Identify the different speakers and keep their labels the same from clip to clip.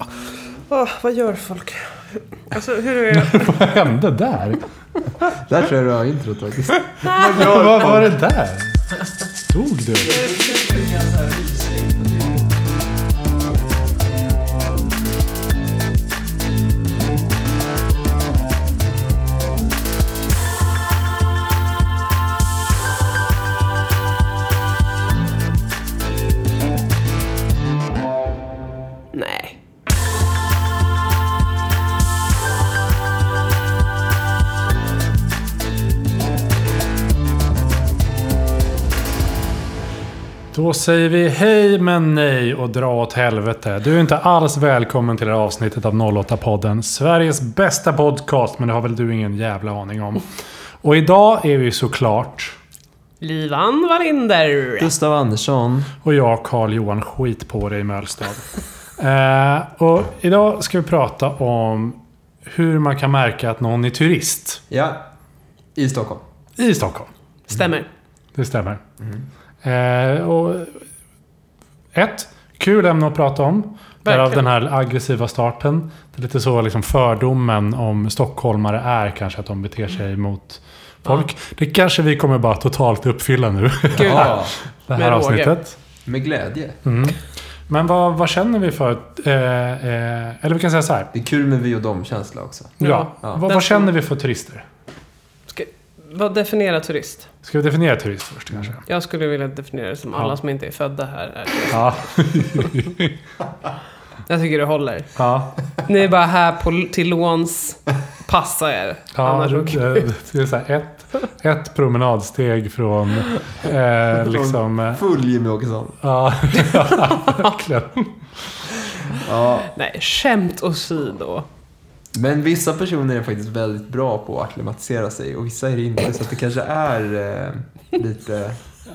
Speaker 1: Åh, Ah, vad gör folk? Alltså, hur är
Speaker 2: Vad hände där?
Speaker 3: Där tror jag du har introt faktiskt.
Speaker 2: Vad var det där? Dog du?
Speaker 1: Nej.
Speaker 2: Då säger vi hej men nej och dra åt helvete. Du är inte alls välkommen till det här avsnittet av 08-podden. Sveriges bästa podcast, men det har väl du ingen jävla aning om. Och idag är vi såklart,
Speaker 1: Livan Wallinder.
Speaker 3: Gustav Andersson.
Speaker 2: och jag Carl-Johan Skit på dig i Mölstad. Eh, och idag ska vi prata om hur man kan märka att någon är turist
Speaker 3: Ja. I Stockholm.
Speaker 2: i Stockholm.
Speaker 1: Stämmer.
Speaker 2: Det stämmer. Eh, och ett, kul ämne att prata om. Därav
Speaker 1: Verkligen.
Speaker 2: den här aggressiva starten. Det är lite så liksom fördomen om stockholmare är kanske att de beter sig mot folk. Det kanske vi kommer bara totalt uppfylla nu.
Speaker 1: Gud.
Speaker 3: Ja.
Speaker 2: Det här
Speaker 1: Med råge.
Speaker 2: avsnittet. Mm.
Speaker 3: Med glädje.
Speaker 2: Men vad, vad känner vi för... Eh, eh, eller vi kan säga så här.
Speaker 3: Det är kul med vi och dem-känsla också.
Speaker 2: Ja.
Speaker 3: Ja.
Speaker 2: Vad, vad känner vi för turister?
Speaker 1: Ska, vad definierar turist?
Speaker 2: Ska vi definiera turist först kanske?
Speaker 1: Jag skulle vilja definiera det som alla som inte är födda här. Är.
Speaker 2: Ja.
Speaker 1: Jag tycker det håller.
Speaker 2: ja.
Speaker 1: Ni är bara här på, till låns. Passa er.
Speaker 2: Ja,
Speaker 1: Annars
Speaker 2: det,
Speaker 1: åker-
Speaker 2: det, det är så här ett, ett promenadsteg från eh, liksom... eh,
Speaker 3: Full Jimmie Åkesson.
Speaker 2: Ja, verkligen.
Speaker 3: Ja.
Speaker 1: Nej, skämt åsido.
Speaker 3: Men vissa personer är faktiskt väldigt bra på att akklimatisera sig och vissa är det inte. Så att det kanske är eh, lite...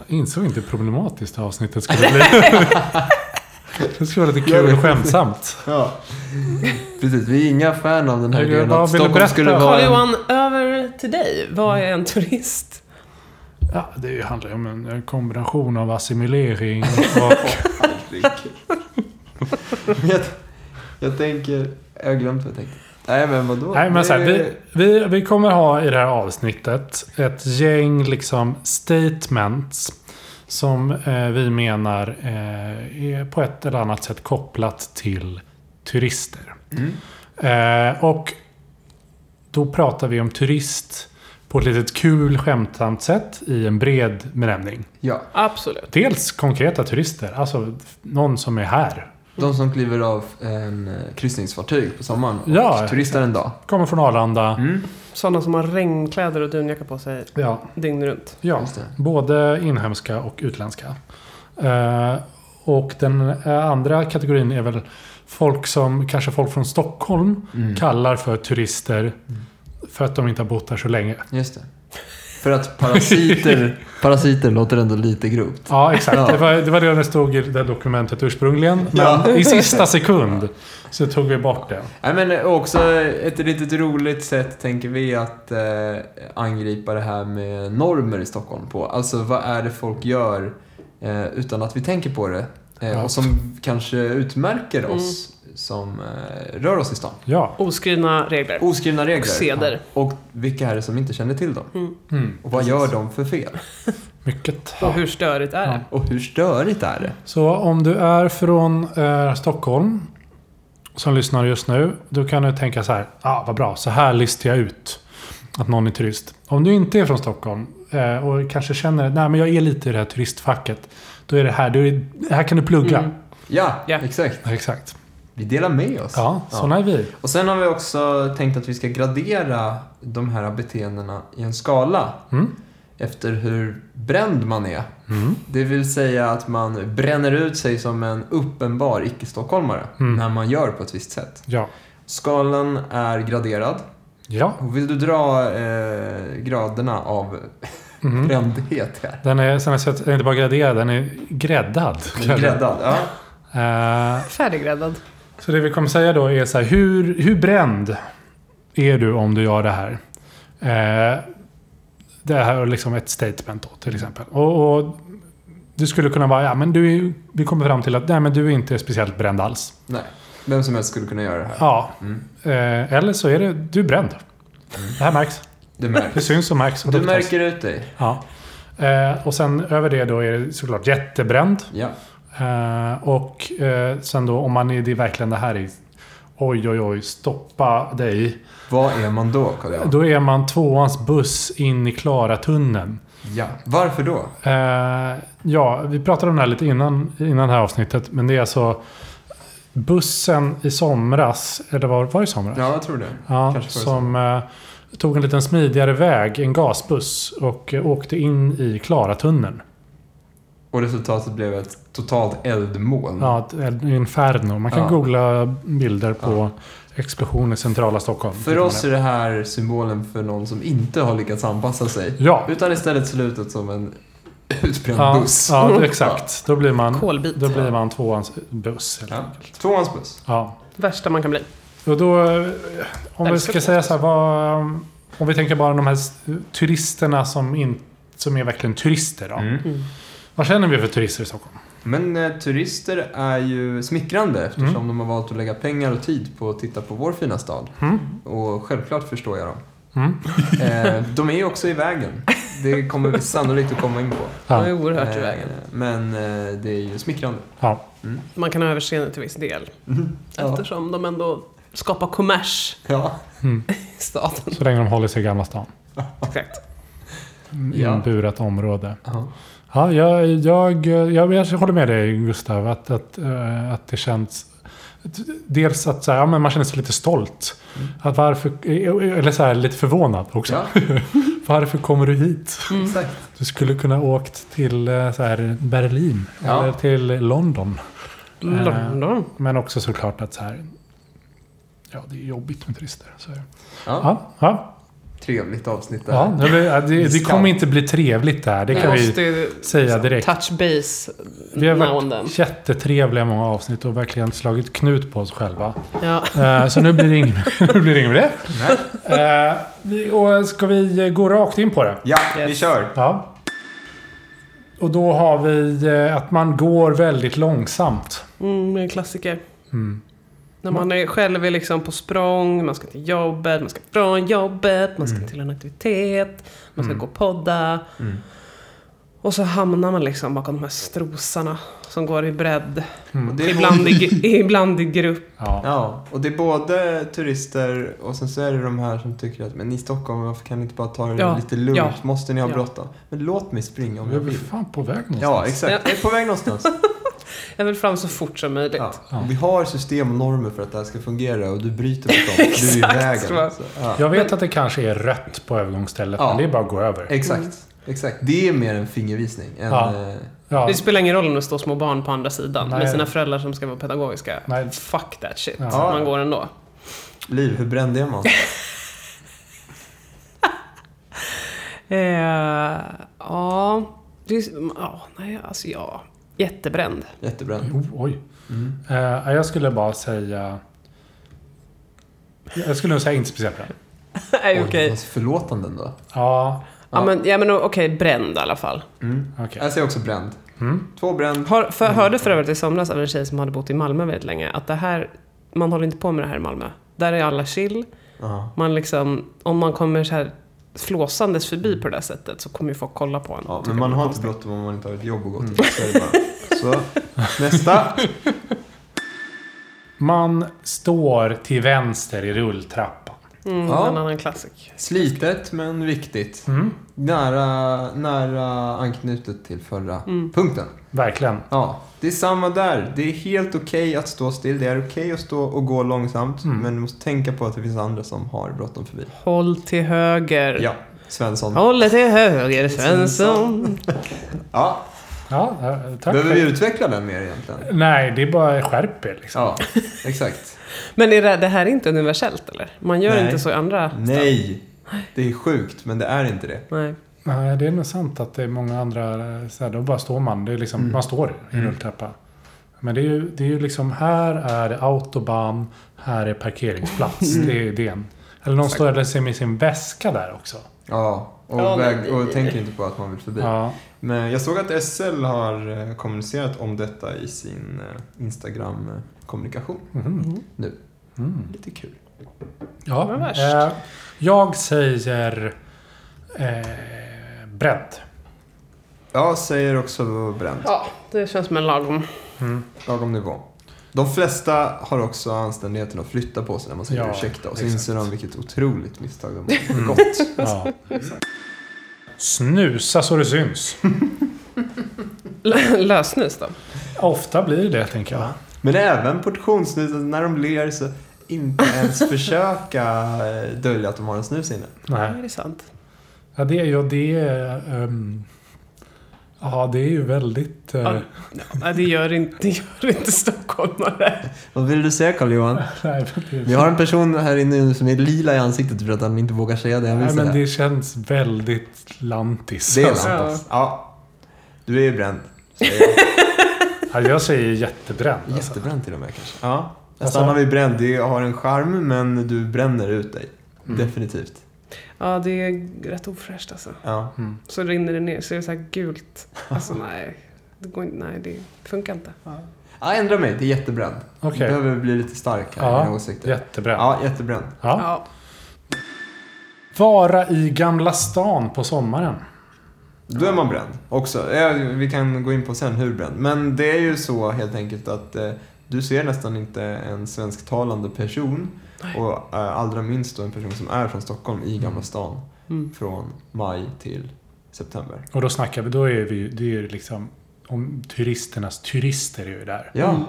Speaker 2: Jag insåg inte hur problematiskt det här avsnittet skulle bli. Det skulle vara lite kul och skämtsamt.
Speaker 3: Ja. Precis, vi är inga fan av den här
Speaker 2: Jag
Speaker 3: grejen
Speaker 2: bara
Speaker 3: att
Speaker 2: ville
Speaker 3: Stockholm
Speaker 2: berätta.
Speaker 3: skulle vara... en-
Speaker 1: Carl-Johan, över till dig. Vad är en turist?
Speaker 2: Ja, det handlar ju om en kombination av assimilering och...
Speaker 3: Men jag, jag tänker... Jag har glömt vad jag tänkte. Nej men vadå?
Speaker 2: Nej, men så här,
Speaker 3: Det-
Speaker 2: vi, vi, vi kommer ha i det här avsnittet ett gäng liksom statements som eh, vi menar eh, är på ett eller annat sätt kopplat till turister. Eh, och då pratar vi om turist på ett litet kul skämtsamt sätt i en bred benämning.
Speaker 3: Ja,
Speaker 1: Absolut.
Speaker 2: Dels konkreta turister, alltså någon som är här.
Speaker 3: de som kliver av en eh, kryssningsfartyg på sommaren och
Speaker 2: Ja.
Speaker 3: turistar en dag.
Speaker 2: Kommer från Arlanda.
Speaker 3: Mm.
Speaker 1: Sådana som har regnkläder och dunjacka på sig
Speaker 2: Ja,
Speaker 1: dygnet runt.
Speaker 2: Ja,
Speaker 3: Just det.
Speaker 2: både inhemska och utländska. Eh, och den eh, andra kategorin är väl folk som kanske folk från
Speaker 3: Mm.
Speaker 2: Stockholm kallar för turister för att de inte har bott här så länge.
Speaker 3: Just det. För att parasiter, parasiter låter ändå lite grovt.
Speaker 2: Ja, exakt.
Speaker 3: Ja.
Speaker 2: Det, var, det var det det stod i det där dokumentet ursprungligen. Men
Speaker 3: Ja.
Speaker 2: i sista sekund så tog vi bort det.
Speaker 3: Nej men också ett litet roligt sätt tänker vi att eh, angripa det här med normer i Stockholm på. Alltså vad är det folk gör eh, utan att vi tänker på det? Eh,
Speaker 2: Ja.
Speaker 3: och som kanske utmärker
Speaker 1: Mm.
Speaker 3: oss som eh, rör oss i stan.
Speaker 2: Ja.
Speaker 1: Oskrivna regler.
Speaker 3: Oskrivna regler.
Speaker 1: Och seder.
Speaker 3: Och vilka är det som inte känner till dem?
Speaker 2: Mm.
Speaker 3: Och vad gör de för fel?
Speaker 2: Mycket.
Speaker 1: Och hur störigt är det?
Speaker 3: Och hur störigt är det?
Speaker 2: Så om du är från eh, Stockholm som lyssnar just nu, då kan du tänka så här. Ah, vad bra, så här listar jag ut att någon är turist. Om du inte är från Stockholm eh, och kanske känner nej men jag är lite i det här turistfacket. Då är det här. Du är, här kan du plugga.
Speaker 1: Mm.
Speaker 3: Ja,
Speaker 1: Ja.
Speaker 3: exakt.
Speaker 2: Exakt.
Speaker 3: Vi delar med oss.
Speaker 2: Ja, sådana är vi.
Speaker 3: Och sen har vi också tänkt att vi ska gradera de här beteendena i en skala
Speaker 2: Mm.
Speaker 3: efter hur bränd man är.
Speaker 2: Mm.
Speaker 3: Det vill säga att man bränner ut sig som en uppenbar icke-stockholmare
Speaker 2: Mm.
Speaker 3: när man gör på ett visst sätt.
Speaker 2: Ja.
Speaker 3: Skalan är graderad.
Speaker 2: ja.
Speaker 3: Och Vill du dra eh, graderna av
Speaker 2: Mm.
Speaker 3: brändhet här?
Speaker 2: Den är, sen har jag sett, den är inte bara graderad, den är gräddad.
Speaker 3: Gräddad, ja.
Speaker 2: Eh,
Speaker 1: Färdiggräddad.
Speaker 2: Så det vi kommer säga då är så här, hur, hur bränd är du om du gör det här? Eh, det här är liksom ett statement då till exempel. Och, och du skulle kunna vara, ja men du, är- vi kommer fram till att nej men du är inte speciellt bränd alls.
Speaker 3: Nej. Vem som helst skulle kunna göra det här.
Speaker 2: Ja,
Speaker 3: Mm.
Speaker 2: eh, eller så är det, du är bränd. Det här märks.
Speaker 3: Du, mär-
Speaker 2: Det syns och märks. och
Speaker 3: du
Speaker 2: luktas.
Speaker 3: märker ut dig.
Speaker 2: Ja. Eh, och sen över det då är det såklart jättebränd.
Speaker 3: Ja.
Speaker 2: Eh, och eh, sen då om man är det är verkligen det här i Oj, oj, oj, stoppa dig.
Speaker 3: Vad är man då, karl Johan?
Speaker 2: Då är man tvåans buss in i Klaratunneln.
Speaker 3: Ja. Varför då?
Speaker 2: Eh, ja, vi pratade om det här lite innan, innan det här avsnittet. Men det är alltså bussen i somras, eller var, var det i somras?
Speaker 3: Ja, jag tror det.
Speaker 2: Ja,
Speaker 3: Kanske förra
Speaker 2: som eh, tog en liten smidigare väg, en gasbuss, och eh, åkte in i Klaratunneln.
Speaker 3: Mm. Och resultatet blev ett totalt eldmoln.
Speaker 2: Ja, ett el- inferno. Man kan
Speaker 3: Ja.
Speaker 2: googla bilder på explosion i centrala Stockholm.
Speaker 3: För oss är det här symbolen för någon som inte har lyckats anpassa sig.
Speaker 2: Ja,
Speaker 3: Utan istället slutet som en utbränd
Speaker 2: ja,
Speaker 3: buss.
Speaker 2: ja exakt. Då blir man,
Speaker 1: Kolbit.
Speaker 2: då blir man tvåans buss. helt
Speaker 3: Ja.
Speaker 2: enkelt.
Speaker 3: Tvåans buss.
Speaker 2: Ja.
Speaker 1: Värsta man kan bli.
Speaker 2: Och då, eh, om
Speaker 1: Nej,
Speaker 2: vi
Speaker 1: det
Speaker 2: ska
Speaker 1: ska-
Speaker 2: säga så här, vad, om vi tänker bara de här s- turisterna som, in, som är verkligen turister. Då.
Speaker 3: Mm.
Speaker 1: Mm.
Speaker 2: Vad känner vi för turister i Stockholm?
Speaker 3: Men eh, turister är ju smickrande eftersom de har valt att lägga pengar och tid på att titta på vår fina stad.
Speaker 2: Mm?
Speaker 3: Och självklart förstår jag dem.
Speaker 2: Mm?
Speaker 3: Eh, de är ju också i vägen. Det kommer vi sannolikt att komma in på.
Speaker 1: Ja.
Speaker 2: Ja.
Speaker 1: Det är oerhört i
Speaker 3: Eh,
Speaker 1: vägen.
Speaker 3: Men eh, det är ju smickrande.
Speaker 2: Ja.
Speaker 1: Man kan ha överseende till viss del.
Speaker 3: Ja.
Speaker 1: Eftersom de ändå skapar kommers
Speaker 3: Ja.
Speaker 2: Mm.
Speaker 1: i staten.
Speaker 2: Så länge de håller sig i Gamla stan.
Speaker 1: Exakt.
Speaker 2: Ja.
Speaker 3: Ja.
Speaker 2: Inburat område. Ja, jag, jag, jag, jag håller med dig Gustav. Att, att, eh, att det känns... Dels att så här, ja, men man känner sig lite stolt. Att varför, eh, eller så här, lite förvånad också.
Speaker 3: Ja,
Speaker 2: Varför kommer du hit?
Speaker 3: exakt.
Speaker 2: Du skulle kunna ha åkt till eh, så här, Berlin
Speaker 3: Ja.
Speaker 2: eller till London. Eh,
Speaker 1: London.
Speaker 2: Men också såklart att så här, ja, det är jobbigt med turister. Så är det.
Speaker 3: Ja.
Speaker 2: Ja, ja,
Speaker 3: Trevligt avsnitt där.
Speaker 2: ja, det, blir- ja, det, det
Speaker 3: Skam.
Speaker 2: kommer inte bli trevligt där. Det
Speaker 1: Vi
Speaker 2: kan vi
Speaker 1: måste ju
Speaker 2: säga direkt.
Speaker 1: touch base
Speaker 2: Vi har
Speaker 1: now and then.
Speaker 2: varit jättetrevliga i många avsnitt och verkligen slagit knut på oss själva.
Speaker 1: Ja.
Speaker 2: Eh, Så nu blir det inget nu blir det inget med
Speaker 3: Nej.
Speaker 2: det. Eh, vi- Och ska vi gå rakt in på det?
Speaker 3: Ja, vi
Speaker 1: Yes.
Speaker 3: kör.
Speaker 2: Ja. Och då har vi eh, att man går väldigt långsamt.
Speaker 1: Mm, en klassiker.
Speaker 2: Mm.
Speaker 1: När man är själv är liksom på språng, man ska till jobbet, man ska från jobbet, man ska till en aktivitet, man ska gå och podda.
Speaker 3: Mm.
Speaker 1: Och så hamnar man liksom bakom de här strosarna som går i bredd.
Speaker 3: Och det är
Speaker 1: Ibland i, gr- ibland i grupp.
Speaker 2: Mm. Ja.
Speaker 3: Ja, och det är både turister och sen så är det de här som tycker att men ni i Stockholm, varför kan ni inte bara ta det
Speaker 1: Ja,
Speaker 3: lite lugnt?
Speaker 1: ja,
Speaker 3: Måste ni ha
Speaker 1: ja.
Speaker 3: bråttom? Men låt mig springa om
Speaker 2: Vi är
Speaker 3: jag
Speaker 2: väl
Speaker 3: vill.
Speaker 2: fan på väg
Speaker 3: Ja,
Speaker 2: någonstans.
Speaker 3: exakt. Jag är på väg någonstans.
Speaker 1: Jag vill fram så fort som möjligt.
Speaker 3: Ja.
Speaker 2: Ja.
Speaker 3: Och Vi har system och normer för att det här ska fungera och du bryter mot dem. Du är i
Speaker 1: Exakt, tror
Speaker 3: vägen.
Speaker 1: jag.
Speaker 3: Så, ja.
Speaker 2: Jag vet att det kanske är rött på övergångsstället,
Speaker 3: Ja.
Speaker 2: men det är bara att gå över.
Speaker 3: Exakt. Exakt. Det är mer en fingervisning. än
Speaker 2: Ja.
Speaker 3: eh,
Speaker 2: Ja.
Speaker 1: Det spelar ingen roll om det står små barn på andra sidan
Speaker 2: Nej.
Speaker 1: med sina föräldrar som ska vara pedagogiska.
Speaker 2: Nej.
Speaker 1: Fuck that shit.
Speaker 2: Ja.
Speaker 1: Man går ändå.
Speaker 3: liv, hur bränd är man?
Speaker 1: Eh, ja, det är, ja, nej, alltså ja. Jättebränd.
Speaker 3: Jättebränd.
Speaker 2: Jo, Oh, oj. Eh, jag skulle bara säga... Jag skulle nog säga inte speciellt bra.
Speaker 1: nej,
Speaker 3: Oj,
Speaker 1: okej.
Speaker 3: fast Förlåtande då.
Speaker 2: Ja,
Speaker 1: Ja, men, ja, men okej, bränd i alla fall.
Speaker 3: Mm.
Speaker 2: okej.
Speaker 3: Jag säger också bränd.
Speaker 2: Mm.
Speaker 3: Två bränd.
Speaker 1: Har, för, Hörde för övrigt i somras av en tjej som hade bott i Malmö väldigt länge att det här, man håller inte på med det här i Malmö. Där är alla chill.
Speaker 3: Ja.
Speaker 1: Man liksom, om man kommer så här flåsandes förbi på det där sättet så kommer ju folk kolla på en.
Speaker 3: Ja,
Speaker 1: Tycker
Speaker 3: men man
Speaker 1: det är
Speaker 3: har inte
Speaker 1: konstigt.
Speaker 3: bråttom om man inte har ett jobb att gå
Speaker 2: Mm.
Speaker 3: till. Så är det bara. Så, nästa.
Speaker 2: Man står till vänster i rulltrappan.
Speaker 1: Mm,
Speaker 3: Ja.
Speaker 1: En annan klassik.
Speaker 3: Slitet men viktigt.
Speaker 2: Mm.
Speaker 3: Nära, nära anknutet till förra
Speaker 1: Mm.
Speaker 3: punkten.
Speaker 2: Verkligen.
Speaker 3: Ja, det är samma där. Det är helt okej att stå still. Det är okej att stå och gå långsamt.
Speaker 2: Mm.
Speaker 3: Men du måste tänka på att det finns andra som har bråttom förbi.
Speaker 1: Håll till höger.
Speaker 3: Ja, Svensson. Ja.
Speaker 1: Håll till höger, Svensson.
Speaker 2: Ja, eh, tack.
Speaker 3: Behöver vi utveckla den mer egentligen?
Speaker 2: Nej, det är bara skärp er liksom.
Speaker 3: Ja, exakt.
Speaker 1: Men är det, det här är inte universellt eller? Man gör
Speaker 3: Nej.
Speaker 1: inte så i andra ställen.
Speaker 3: Nej, det är sjukt, men det är inte det.
Speaker 1: Nej.
Speaker 2: Nej, det är nog sant att det är många andra... eh, Så här, då bara står man. Det är liksom, Man står i rulltrappa. Men det är, ju, det är ju liksom... Här är det autobahn. Här är parkeringsplats. Det är idén. Eller någon står eller ser med sin väska där också.
Speaker 4: Ja, och,
Speaker 1: Ja, men-
Speaker 4: väg, och tänker inte på att man vill förbi.
Speaker 2: Ja.
Speaker 3: Men jag såg att SL har eh, kommunicerat om detta i sin eh, Instagram-kommunikation.
Speaker 2: Mhm. Mm.
Speaker 3: Lite kul.
Speaker 2: Ja.
Speaker 1: Vad värst.
Speaker 2: Eh, jag säger eh, bredd.
Speaker 3: Jag säger också bränt.
Speaker 1: Ja, det känns som en lagom.
Speaker 2: Mm.
Speaker 3: Lagom nivå. De flesta har också anständigheten att flytta på sig när man säger
Speaker 2: Ja,
Speaker 3: ursäkta och så
Speaker 2: exakt.
Speaker 3: inser de vilket otroligt misstag de har
Speaker 4: Mm.
Speaker 3: begått.
Speaker 2: Ja. Snusa så det syns.
Speaker 1: L- Lösnus då?
Speaker 2: Ofta blir det det, tänker jag.
Speaker 3: Men även portionssnuset, när de ler så inte ens försöka eh, dölja att de har en snus inne.
Speaker 1: Ja,
Speaker 2: Nej.
Speaker 1: det är sant.
Speaker 2: Ja, det är ju... Det är, ehm, ja, det är ju väldigt... eh,
Speaker 1: Ja. Nej, det gör inte, det gör inte stockholmare.
Speaker 4: Vad vill du säga Carl Johan?
Speaker 2: nej, men det,
Speaker 4: Vi har en person här inne nu som är lila i ansiktet för att han inte vågar säga det han vill
Speaker 2: nej, men
Speaker 4: säga.
Speaker 2: det känns väldigt lantis.
Speaker 3: Det är
Speaker 2: Alltså,
Speaker 3: Lampas. Ja. Du är ju bränd. säger jag.
Speaker 2: ja, jag säger jättebränd. Alltså.
Speaker 3: Jättebränd till och med kanske. Ja. Jag
Speaker 2: Alltså-
Speaker 3: stannar vid bränd. Det har en charm men du bränner ut dig.
Speaker 2: Mm.
Speaker 3: Definitivt.
Speaker 1: Ja, det är rätt ofräscht alltså.
Speaker 3: Ja.
Speaker 2: Mm.
Speaker 1: Så rinner det ner så är det så här gult. Alltså nej. Det går inte, nej det funkar inte.
Speaker 3: ja, ändra mig. Det är jättebränd.
Speaker 2: Okej.
Speaker 3: Du behöver bli lite stark här i
Speaker 2: Ja.
Speaker 3: dina åsikter.
Speaker 2: Jättebränd.
Speaker 3: Ja, jättebränd.
Speaker 2: Ja.
Speaker 1: Ja.
Speaker 2: Vara i Gamla stan på sommaren.
Speaker 3: Då är man bränd också. Eh, Vi kan gå in på sen hur bränd. Men det är ju så helt enkelt att eh, du ser nästan inte en svensktalande person och eh, allra minst då en person som är från Stockholm i Gamla stan
Speaker 1: Mm.
Speaker 3: från maj till september.
Speaker 2: Och då snackar vi, då är vi ju- det är ju liksom om turisternas turister är ju där.
Speaker 3: Ja.
Speaker 1: Mm.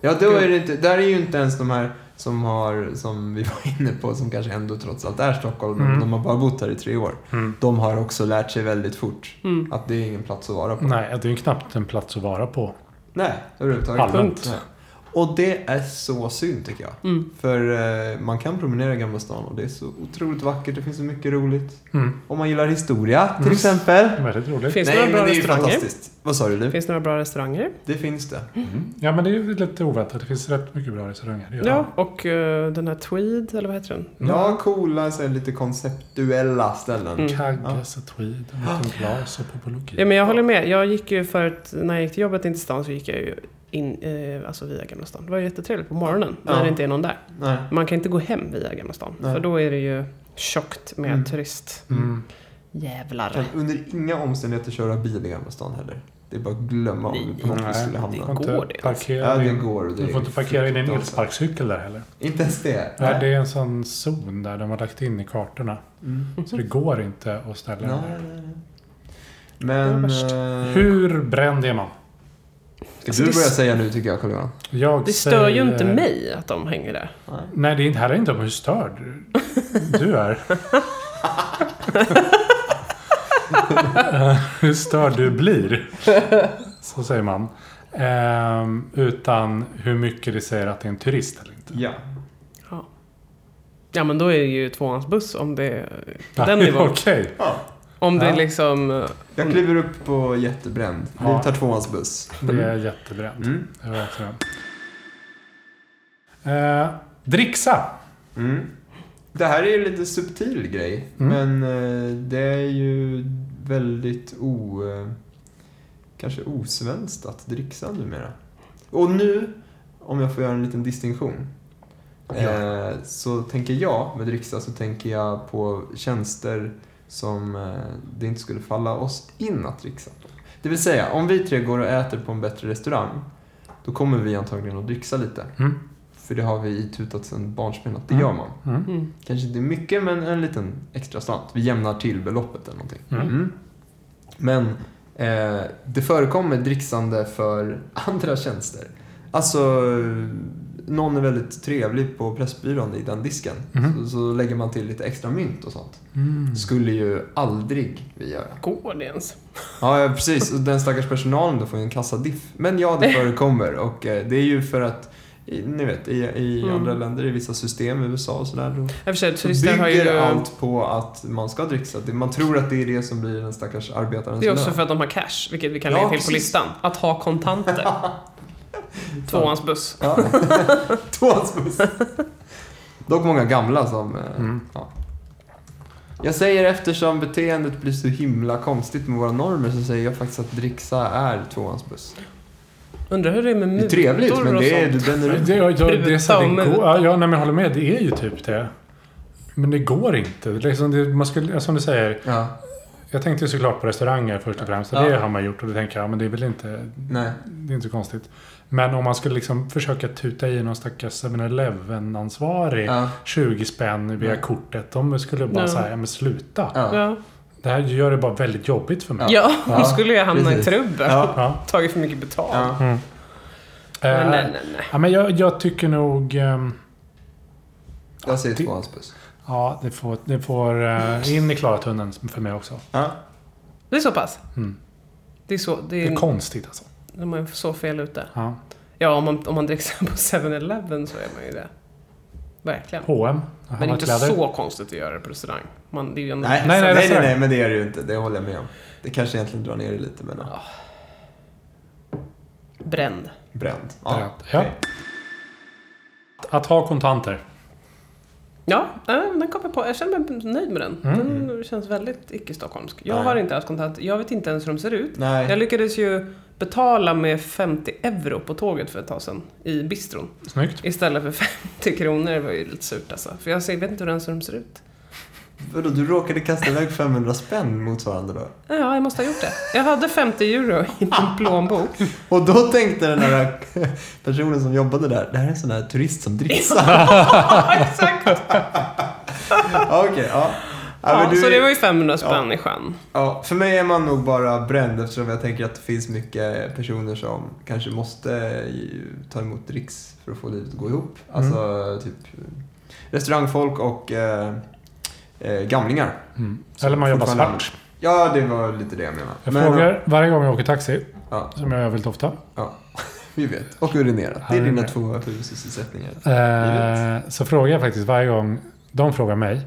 Speaker 3: Ja, då är det inte, där är ju inte ens de här som har, som vi var inne på, som kanske ändå trots allt är Stockholm,
Speaker 2: Mm.
Speaker 3: de har bara bott här i tre år.
Speaker 2: Mm.
Speaker 3: De har också lärt sig väldigt fort
Speaker 1: Mm.
Speaker 3: att det är ingen plats att vara på.
Speaker 2: Nej, det är ju knappt en plats att vara på.
Speaker 3: Nej, överhuvudtaget.
Speaker 2: Allmänt.
Speaker 3: Nej. Och det är så synd tycker jag.
Speaker 1: Mm.
Speaker 3: För eh, man kan promenera i Gamla stan och det är så otroligt vackert, det finns så mycket roligt.
Speaker 2: Mm.
Speaker 3: Om man gillar historia till
Speaker 2: Mm.
Speaker 3: exempel.
Speaker 2: Väldigt roligt.
Speaker 1: Finns det
Speaker 3: Nej,
Speaker 1: några
Speaker 3: men
Speaker 1: bra
Speaker 3: det är ju
Speaker 1: restauranger? Mm.
Speaker 3: fantastiskt. Vad sa du Liv?
Speaker 1: Finns det några bra restauranger?
Speaker 3: Det finns det.
Speaker 2: Ja, men det är ju lite oväntat. Det finns rätt mycket bra restauranger. Det gör
Speaker 1: Ja, och eh, den här Tweed, eller vad heter den?
Speaker 2: Mm.
Speaker 3: Ja, coola, så här, lite konceptuella ställen.
Speaker 2: det.
Speaker 1: Mm.
Speaker 2: Kaggas och tweed och Milton Glas och popologi.
Speaker 1: Ja, men jag håller med. Jag gick ju förut, när jag gick till jobbet in till stan så gick jag ju in, eh, alltså via Gamla stan. Det var ju jättetrevligt på morgonen
Speaker 3: Ja.
Speaker 1: när det inte är någon där.
Speaker 3: Nej.
Speaker 1: Man kan inte gå hem via Gamla stan,
Speaker 3: Nej.
Speaker 1: för då är det ju tjockt med
Speaker 3: Mm.
Speaker 1: turist.
Speaker 2: Mm.
Speaker 1: Jävlar.
Speaker 3: Kan under inga omständigheter köra bil i Gamla stan heller. Det är bara att glömma om vi på något vis skulle
Speaker 2: Du
Speaker 3: hamna.
Speaker 2: får
Speaker 1: Går det?
Speaker 2: inte parkera
Speaker 3: Ja, det
Speaker 2: din-
Speaker 3: går. Det
Speaker 2: Du får inte parkera i din elsparkcykel där heller.
Speaker 3: Inte ens det?
Speaker 2: Nej, det är en sån zon där de har lagt in i kartorna.
Speaker 3: Mm.
Speaker 2: Så
Speaker 1: Mhm.
Speaker 2: det går inte att ställa den
Speaker 3: Nej,
Speaker 2: där.
Speaker 3: nej, nej.
Speaker 1: Det var
Speaker 3: Men...
Speaker 1: värst.
Speaker 3: eh,
Speaker 2: Hur bränd är man?
Speaker 3: Ska
Speaker 1: Alltså,
Speaker 3: du
Speaker 1: det-
Speaker 3: börja säga nu tycker jag, Carl-Johan?
Speaker 2: Jag
Speaker 1: Det stör ju
Speaker 2: säger-
Speaker 1: inte mig att de hänger där.
Speaker 2: Nej, det är inte heller inte om hur störd du är. Eh, hur störd du blir. Så säger man. Ehm, utan hur mycket det säger att det är en turist eller inte.
Speaker 3: Ja.
Speaker 1: Ja. ja, men då är det ju tvåans buss om det är på den
Speaker 2: Ja,
Speaker 1: nivån.
Speaker 2: Okej.
Speaker 3: ja.
Speaker 1: Om det
Speaker 2: Ja.
Speaker 1: är liksom... eh,
Speaker 3: Jag kliver upp på jättebränd.
Speaker 2: Ja.
Speaker 3: Vi tar tvåans buss.
Speaker 2: Det är jättebränt.
Speaker 3: Mm.
Speaker 2: Det var också bränt. Eh, dricksa.
Speaker 3: Mm. Det här är ju lite subtil grej,
Speaker 2: Mm.
Speaker 3: men eh, det är ju väldigt o... eh, Kanske osvenskt att dricksa numera. Och nu, om jag får göra en liten distinktion, eh, så tänker jag med dricksa så tänker jag på tjänster som eh, det inte skulle falla oss in att dricksa. Det vill säga, om vi tre går och äter på en bättre restaurang, då kommer vi antagligen att dricksa lite.
Speaker 2: Mm.
Speaker 3: För det har vi itutat sedan barnsben att det
Speaker 2: Mm.
Speaker 3: gör man.
Speaker 2: Mm.
Speaker 1: Mm.
Speaker 3: Kanske inte mycket, men en liten extra slant. Vi jämnar till beloppet eller någonting.
Speaker 2: Mm.
Speaker 3: Men eh, det förekommer dricksande för andra tjänster. Alltså, eh, någon är väldigt trevlig på Pressbyrån i den disken.
Speaker 2: Mhm.
Speaker 3: Så, så lägger man till lite extra mynt och sånt.
Speaker 2: Mm.
Speaker 3: Skulle ju aldrig vi göra.
Speaker 1: Går det ens?
Speaker 3: Ja, ja, precis. Och den stackars personalen då får ju en kassadiff. Men ja, det förekommer. Och eh, det är ju för att, i- ni vet, i, i
Speaker 1: Mm.
Speaker 3: andra länder, i vissa system, i USA och sådär, då
Speaker 1: I och för sig,
Speaker 3: så
Speaker 1: turister har ju...
Speaker 3: bygger allt på att man ska dricksa. Det- Man tror att det är det som blir den stackars arbetarens
Speaker 1: Det är också
Speaker 3: lön.
Speaker 1: för att de har cash, vilket vi kan
Speaker 3: Ja,
Speaker 1: lägga till
Speaker 3: precis.
Speaker 1: på listan. Att ha kontanter. Tvåans buss.
Speaker 3: Ja. Tvåans buss. Dock många gamla som... eh,
Speaker 2: Mm.
Speaker 3: Ja. Jag säger eftersom beteendet blir så himla konstigt med våra normer så säger jag faktiskt att dricksa är tvåans buss.
Speaker 1: Undrar hur det är med
Speaker 3: Det
Speaker 1: mutor
Speaker 3: är trevligt men
Speaker 1: och
Speaker 3: det är,
Speaker 1: sånt.
Speaker 3: du bränner
Speaker 2: Det,
Speaker 3: ut.
Speaker 2: det, ja, det är så här,
Speaker 1: Bruta
Speaker 2: det
Speaker 1: och
Speaker 2: går,
Speaker 1: muta.
Speaker 2: ja, ja, nej, men jag håller med. Det är ju typ det. Men det går inte. Liksom det, man skulle, som du säger,
Speaker 3: Ja,
Speaker 2: jag tänkte ju såklart på restauranger först och främst. och Det
Speaker 3: Ja.
Speaker 2: har man gjort och det tänker jag, men det är väl inte,
Speaker 3: nej.
Speaker 2: det är inte så konstigt. Men om man skulle liksom försöka tuta i någon stackars 7-Eleven-ansvarig
Speaker 3: Ja,
Speaker 2: 20 spänn via
Speaker 3: Nej.
Speaker 2: kortet. De skulle bara
Speaker 1: Ja.
Speaker 2: säga, men sluta.
Speaker 3: ja.
Speaker 1: Ja,
Speaker 2: Det här gör det bara väldigt jobbigt för mig.
Speaker 1: ja då
Speaker 3: Ja,
Speaker 1: skulle jag hamna
Speaker 3: precis.
Speaker 1: i trubbel.
Speaker 3: Ja.
Speaker 2: Ja.
Speaker 1: Tagit för mycket betalt.
Speaker 3: Ja.
Speaker 2: Mm.
Speaker 1: Men
Speaker 2: Eh,
Speaker 1: nej, nej, nej.
Speaker 2: Ja, men jag, jag tycker nog... ehm,
Speaker 3: Jag säger
Speaker 2: Det-
Speaker 3: tvåans buss.
Speaker 2: Ja, det får, det får eh, in i Klaratunneln för mig också.
Speaker 3: Ja.
Speaker 1: Det är så pass?
Speaker 2: Mm.
Speaker 1: Det är så... Det
Speaker 2: Det
Speaker 1: är,
Speaker 2: är konstigt alltså.
Speaker 1: de är så fel ute.
Speaker 2: Ja.
Speaker 1: Ja, om man, om man dricker på 7-Eleven så är man ju det. Verkligen.
Speaker 2: H&M. har
Speaker 1: Men det är
Speaker 2: man
Speaker 1: inte
Speaker 2: kläder.
Speaker 1: så konstigt att göra det på restaurang. Man, det är ju ändå...
Speaker 3: Nej,
Speaker 2: Nej,
Speaker 3: nej, nej,
Speaker 2: nej,
Speaker 3: nej,
Speaker 2: restaurang.
Speaker 3: nej, men det är det ju inte. Det håller jag med om. Det kanske egentligen drar ner det lite, men ja.
Speaker 1: Bränd.
Speaker 3: bränd.
Speaker 2: Bränd,
Speaker 3: Ja.
Speaker 2: ja.
Speaker 3: okej.
Speaker 2: Att ha kontanter.
Speaker 1: Ja, äh, den kom jag på. Jag känner mig nöjd med den.
Speaker 2: Mm.
Speaker 1: Den känns väldigt icke-stockholmsk. Jag
Speaker 3: Nej.
Speaker 1: har inte haft kontant. Jag vet inte ens hur de ser ut. Jag
Speaker 3: Nej.
Speaker 1: lyckades ju betala med 50 euro på tåget för ett tag sedan i bistron.
Speaker 2: Snyggt.
Speaker 1: Istället för 50 kronor. Det var ju lite surt alltså. För jag ser- vet inte hur ens hur de ser ut.
Speaker 3: Vadå, du råkade kasta iväg 500 spänn motsvarande då?
Speaker 1: Ja, jag måste ha gjort det. Jag hade 50 euro i min plånbok.
Speaker 3: Och då tänkte den här personen som jobbade där, det här är en sån här turist som dricksar.
Speaker 1: Exakt!
Speaker 3: Ja, Okej, ja. Ja,
Speaker 1: Ja,
Speaker 3: men du-
Speaker 1: Så det var ju 500 spänn i sjön.
Speaker 3: ja, för mig är man nog bara bränd eftersom jag tänker att det finns mycket personer som kanske måste ju ta emot dricks för att få livet att gå ihop. Alltså typ restaurangfolk och eh, eh, gamlingar.
Speaker 2: Mm.
Speaker 3: Så
Speaker 2: Eller man jobbar
Speaker 3: fortfarande-
Speaker 2: svart.
Speaker 3: Ja, det var lite det jag menade.
Speaker 2: Jag
Speaker 3: Men,
Speaker 2: frågar varje gång jag åker taxi,
Speaker 3: Ja.
Speaker 2: som jag gör väldigt ofta.
Speaker 3: Ja, vi vet. Och urinerat. Det
Speaker 2: Ja,
Speaker 3: är
Speaker 2: det är
Speaker 3: dina
Speaker 2: det.
Speaker 3: två huvudsysselsättningar.
Speaker 2: Eh, så frågar jag faktiskt varje gång de frågar mig.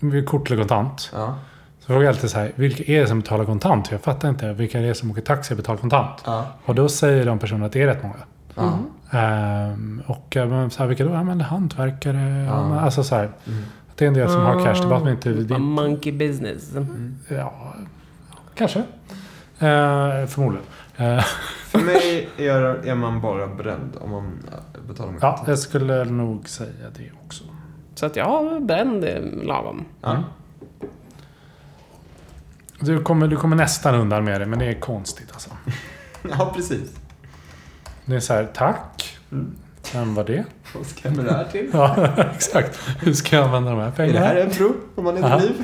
Speaker 2: "Vill du Kort eller kontant?
Speaker 3: Ja,
Speaker 2: Så frågar jag alltid så här, vilka är det som betalar kontant? Jag fattar inte, vilka är det som åker taxi och betalar kontant?
Speaker 3: ja,
Speaker 2: Och då säger de personerna att det är rätt många.
Speaker 3: ja.
Speaker 1: Mhm.
Speaker 2: Ehm, och eh, men så här, vilka då? Ja, men hantverkare. Ja.
Speaker 3: Ja.
Speaker 2: men, alltså så här,
Speaker 3: Mm.
Speaker 2: att det är en del som har cash. Det är bara att man inte...
Speaker 1: Bara
Speaker 2: Det,
Speaker 1: Monkey business.
Speaker 2: ja, kanske. Ehm, förmodligen. Ehm,
Speaker 3: För mig är, är man bara bränd om man betalar med
Speaker 2: ja,
Speaker 3: kontant.
Speaker 2: jag skulle nog säga det också.
Speaker 1: Så att ja, bränd är lagom.
Speaker 3: Ja.
Speaker 2: Du kommer, du kommer nästan undan med det, men det är konstigt alltså.
Speaker 3: ja, precis.
Speaker 2: Det är så här, tack. Vem var det?
Speaker 3: Vad ska jag med det här till?
Speaker 2: Ja, exakt. Hur ska jag använda de här
Speaker 3: Är det
Speaker 2: pengarna?
Speaker 3: här en prov om man är
Speaker 2: Ja.
Speaker 3: naiv?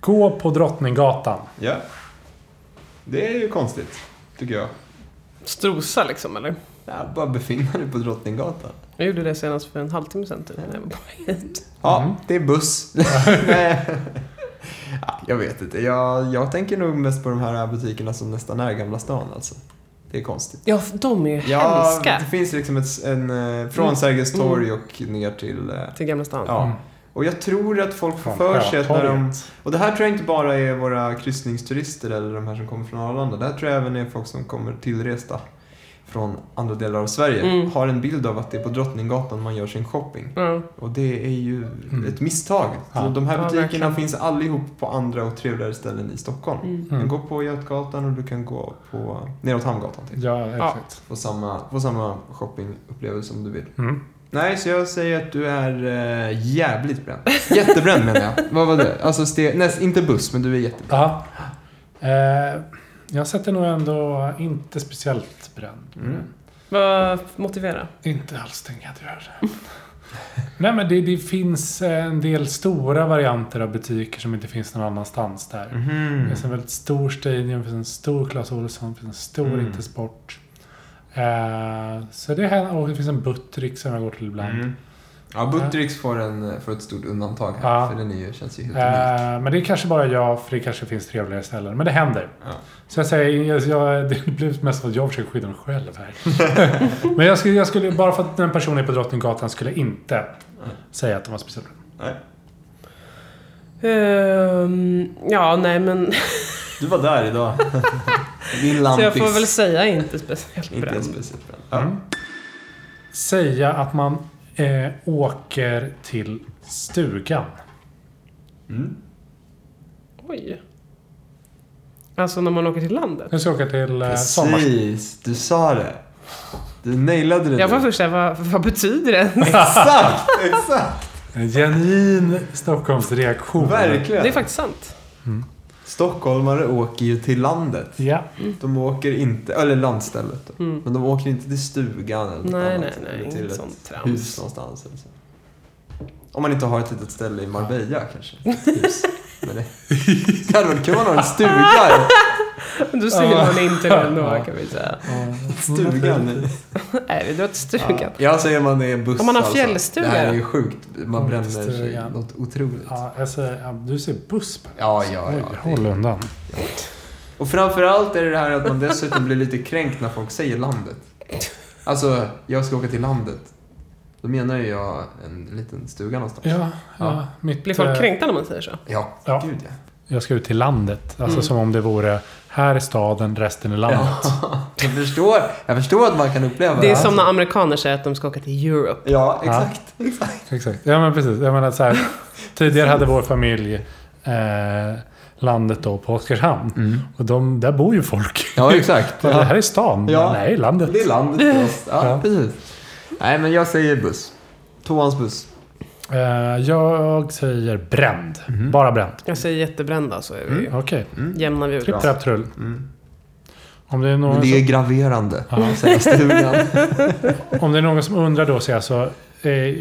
Speaker 2: Gå på Drottninggatan.
Speaker 3: Ja. Det är ju konstigt, tycker jag.
Speaker 1: Strosa liksom, eller?
Speaker 3: Ja, bara befinna dig på Drottninggatan.
Speaker 1: Jag gjorde det senast för en halvtimme sedan typ, när jag var på väg hit.
Speaker 3: Ja,
Speaker 2: Mm.
Speaker 3: det är buss. Nej. ja, jag vet inte. Jag, jag tänker nog mest på de här butikerna som nästan är Gamla stan alltså. Det är konstigt.
Speaker 1: Ja, för de är ju
Speaker 3: Ja,
Speaker 1: hemska.
Speaker 3: det finns liksom ett, en, eh, från
Speaker 1: Mm.
Speaker 3: Sergels torg och ner till... eh,
Speaker 1: Till Gamla stan.
Speaker 3: Ja.
Speaker 2: Mm.
Speaker 3: Och jag tror att folk får
Speaker 2: Fan,
Speaker 3: för sig att när de...
Speaker 2: Sjötorget.
Speaker 3: Och det här tror jag inte bara är våra kryssningsturister eller de här som kommer från Arlanda. Det här tror jag även är folk som kommer tillresta från andra delar av Sverige.
Speaker 1: Mm.
Speaker 3: Har en bild av att det är på Drottninggatan man gör sin shopping.
Speaker 1: Ja.
Speaker 3: Och det är ju
Speaker 2: Mm.
Speaker 3: ett misstag.
Speaker 2: Ja.
Speaker 3: Så de här
Speaker 1: Ja,
Speaker 3: butikerna
Speaker 1: verkligen.
Speaker 3: finns allihop på andra och trevligare ställen i Stockholm.
Speaker 1: Mm.
Speaker 2: Mm.
Speaker 3: Du kan gå på Götgatan och du kan gå på neråt Hamngatan till.
Speaker 2: Ja, exakt.
Speaker 3: Få samma, få samma shoppingupplevelse om du vill.
Speaker 2: Mm.
Speaker 3: Nej, så jag säger att du är eh, jävligt bränd. Jättebränd menar jag. Vad var det? Alltså, ste- näst, inte buss, men du är jättebränd.
Speaker 2: Ja. Eh, jag sätter nog ändå inte speciellt bränd.
Speaker 3: Mm.
Speaker 1: Vad motivera?
Speaker 2: Inte alls tänker jag att jag gör. Nej men det, det finns eh, en del stora varianter av butiker som inte finns någon annanstans där.
Speaker 3: Mm. Mm-hmm.
Speaker 2: Det finns en väldigt stor Stadium, det finns en stor Clas Ohlson, det finns en stor
Speaker 3: Mm.
Speaker 2: Intersport. Eh, så det här, och det finns en Buttrick som jag går till ibland.
Speaker 3: Mm. Ja, Buttericks får, en, får ett stort undantag här,
Speaker 2: Ja.
Speaker 3: för den är ju, känns ju helt
Speaker 1: Äh.
Speaker 3: unik.
Speaker 2: Eh, men det är kanske bara jag, för det kanske finns trevligare ställen. Men det händer.
Speaker 3: Ja.
Speaker 2: Så jag säger, jag, jag, det blir mest att jag försöker skydda mig själv här. men jag skulle, jag skulle, bara för att den personen är på Drottninggatan skulle jag inte säga att de var speciellt bra.
Speaker 1: Ehm, ja, nej men...
Speaker 3: Du var där idag. Din
Speaker 1: Så jag
Speaker 3: lampis.
Speaker 1: får väl säga inte speciellt
Speaker 3: Inte ens
Speaker 1: bränd. Mm.
Speaker 3: speciellt bränd. Ja.
Speaker 2: Mm. Säga att man eh, åker till stugan.
Speaker 3: Mm.
Speaker 1: Oj. Alltså när man åker till landet.
Speaker 2: Nu ska jag åka till
Speaker 1: Äh,
Speaker 2: eh, sommar...
Speaker 3: Precis, du sa det. Du nailade det.
Speaker 1: Jag var
Speaker 3: nu.
Speaker 1: först där, vad, vad betyder det ens?
Speaker 3: Exakt, exakt.
Speaker 2: En genuin Stockholmsreaktion.
Speaker 1: Det är
Speaker 3: Verkligen.
Speaker 1: faktiskt sant.
Speaker 3: Stockholmare åker ju till landet.
Speaker 2: Ja.
Speaker 3: De åker inte, eller landstället då.
Speaker 1: Mm.
Speaker 3: Men de åker inte till stugan eller något
Speaker 1: Nej, nej,
Speaker 3: annat.
Speaker 1: nej.
Speaker 3: Eller till
Speaker 1: Inget
Speaker 3: ett
Speaker 1: sånt trams.
Speaker 3: hus någonstans. Eller så. Om man inte har ett litet ställe i Marbella kanske. Ett Hus. Men det, det hade varit kul om man har en stuga.
Speaker 1: Du ser
Speaker 2: Ja.
Speaker 1: man inte det ändå
Speaker 2: Ja.
Speaker 1: kan vi säga.
Speaker 3: Stugan.
Speaker 1: Nej, vi drar till stugan.
Speaker 3: Jag säger man det är buss
Speaker 1: Om man har
Speaker 3: alltså.
Speaker 1: fjällstuga.
Speaker 3: Det här är ju sjukt. Man bränner sig
Speaker 2: Stugan.
Speaker 3: något otroligt. Ja,
Speaker 2: Ja, jag säger, ja, du ser buss.
Speaker 3: ja, ja.
Speaker 2: Oj,
Speaker 3: det är-
Speaker 2: håll undan.
Speaker 3: Och framförallt är det det här att man dessutom blir lite kränkt när folk säger landet. Alltså, jag ska åka till landet. Då menar ju jag en liten stuga någonstans.
Speaker 2: Ja, ja.
Speaker 3: Ja.
Speaker 2: Mitt,
Speaker 1: Blir folk
Speaker 2: eh,
Speaker 1: kränkta när man säger så?
Speaker 3: Ja,
Speaker 2: Ja.
Speaker 3: gud ja.
Speaker 2: Jag ska ut till landet. Alltså
Speaker 1: Mm.
Speaker 2: som om det vore här i staden, resten i landet.
Speaker 3: ja. Jag, förstår, jag förstår att man kan uppleva
Speaker 1: Det är
Speaker 3: här.
Speaker 1: som när amerikaner säger att de ska åka till Europe.
Speaker 3: Ja, exakt. exakt.
Speaker 2: Exakt. Ja men precis. Jag menar så här, tidigare hade vår familj eh, landet då på Oskarshamn. Och de, där bor ju folk.
Speaker 3: Ja, exakt.
Speaker 2: Det här
Speaker 3: Ja.
Speaker 2: är stan.
Speaker 3: Ja.
Speaker 2: Nej, landet.
Speaker 3: Det är landet för oss. Ja,
Speaker 2: Ja.
Speaker 3: precis. Nej, men jag säger buss. Tvåans buss.
Speaker 2: Eh, jag säger bränd.
Speaker 3: Mhm.
Speaker 2: Bara bränd. Mm,
Speaker 1: Jag säger jättebrända så är vi ju.
Speaker 2: Okej.
Speaker 1: jämnar vi ut.
Speaker 2: Tripp, trapp, trull.
Speaker 3: Mm.
Speaker 2: Om det är någon
Speaker 3: Men det är
Speaker 2: som,
Speaker 3: graverande.
Speaker 2: Ja.
Speaker 3: Säger stugan.
Speaker 2: om det är någon som undrar då så är alltså... Eh,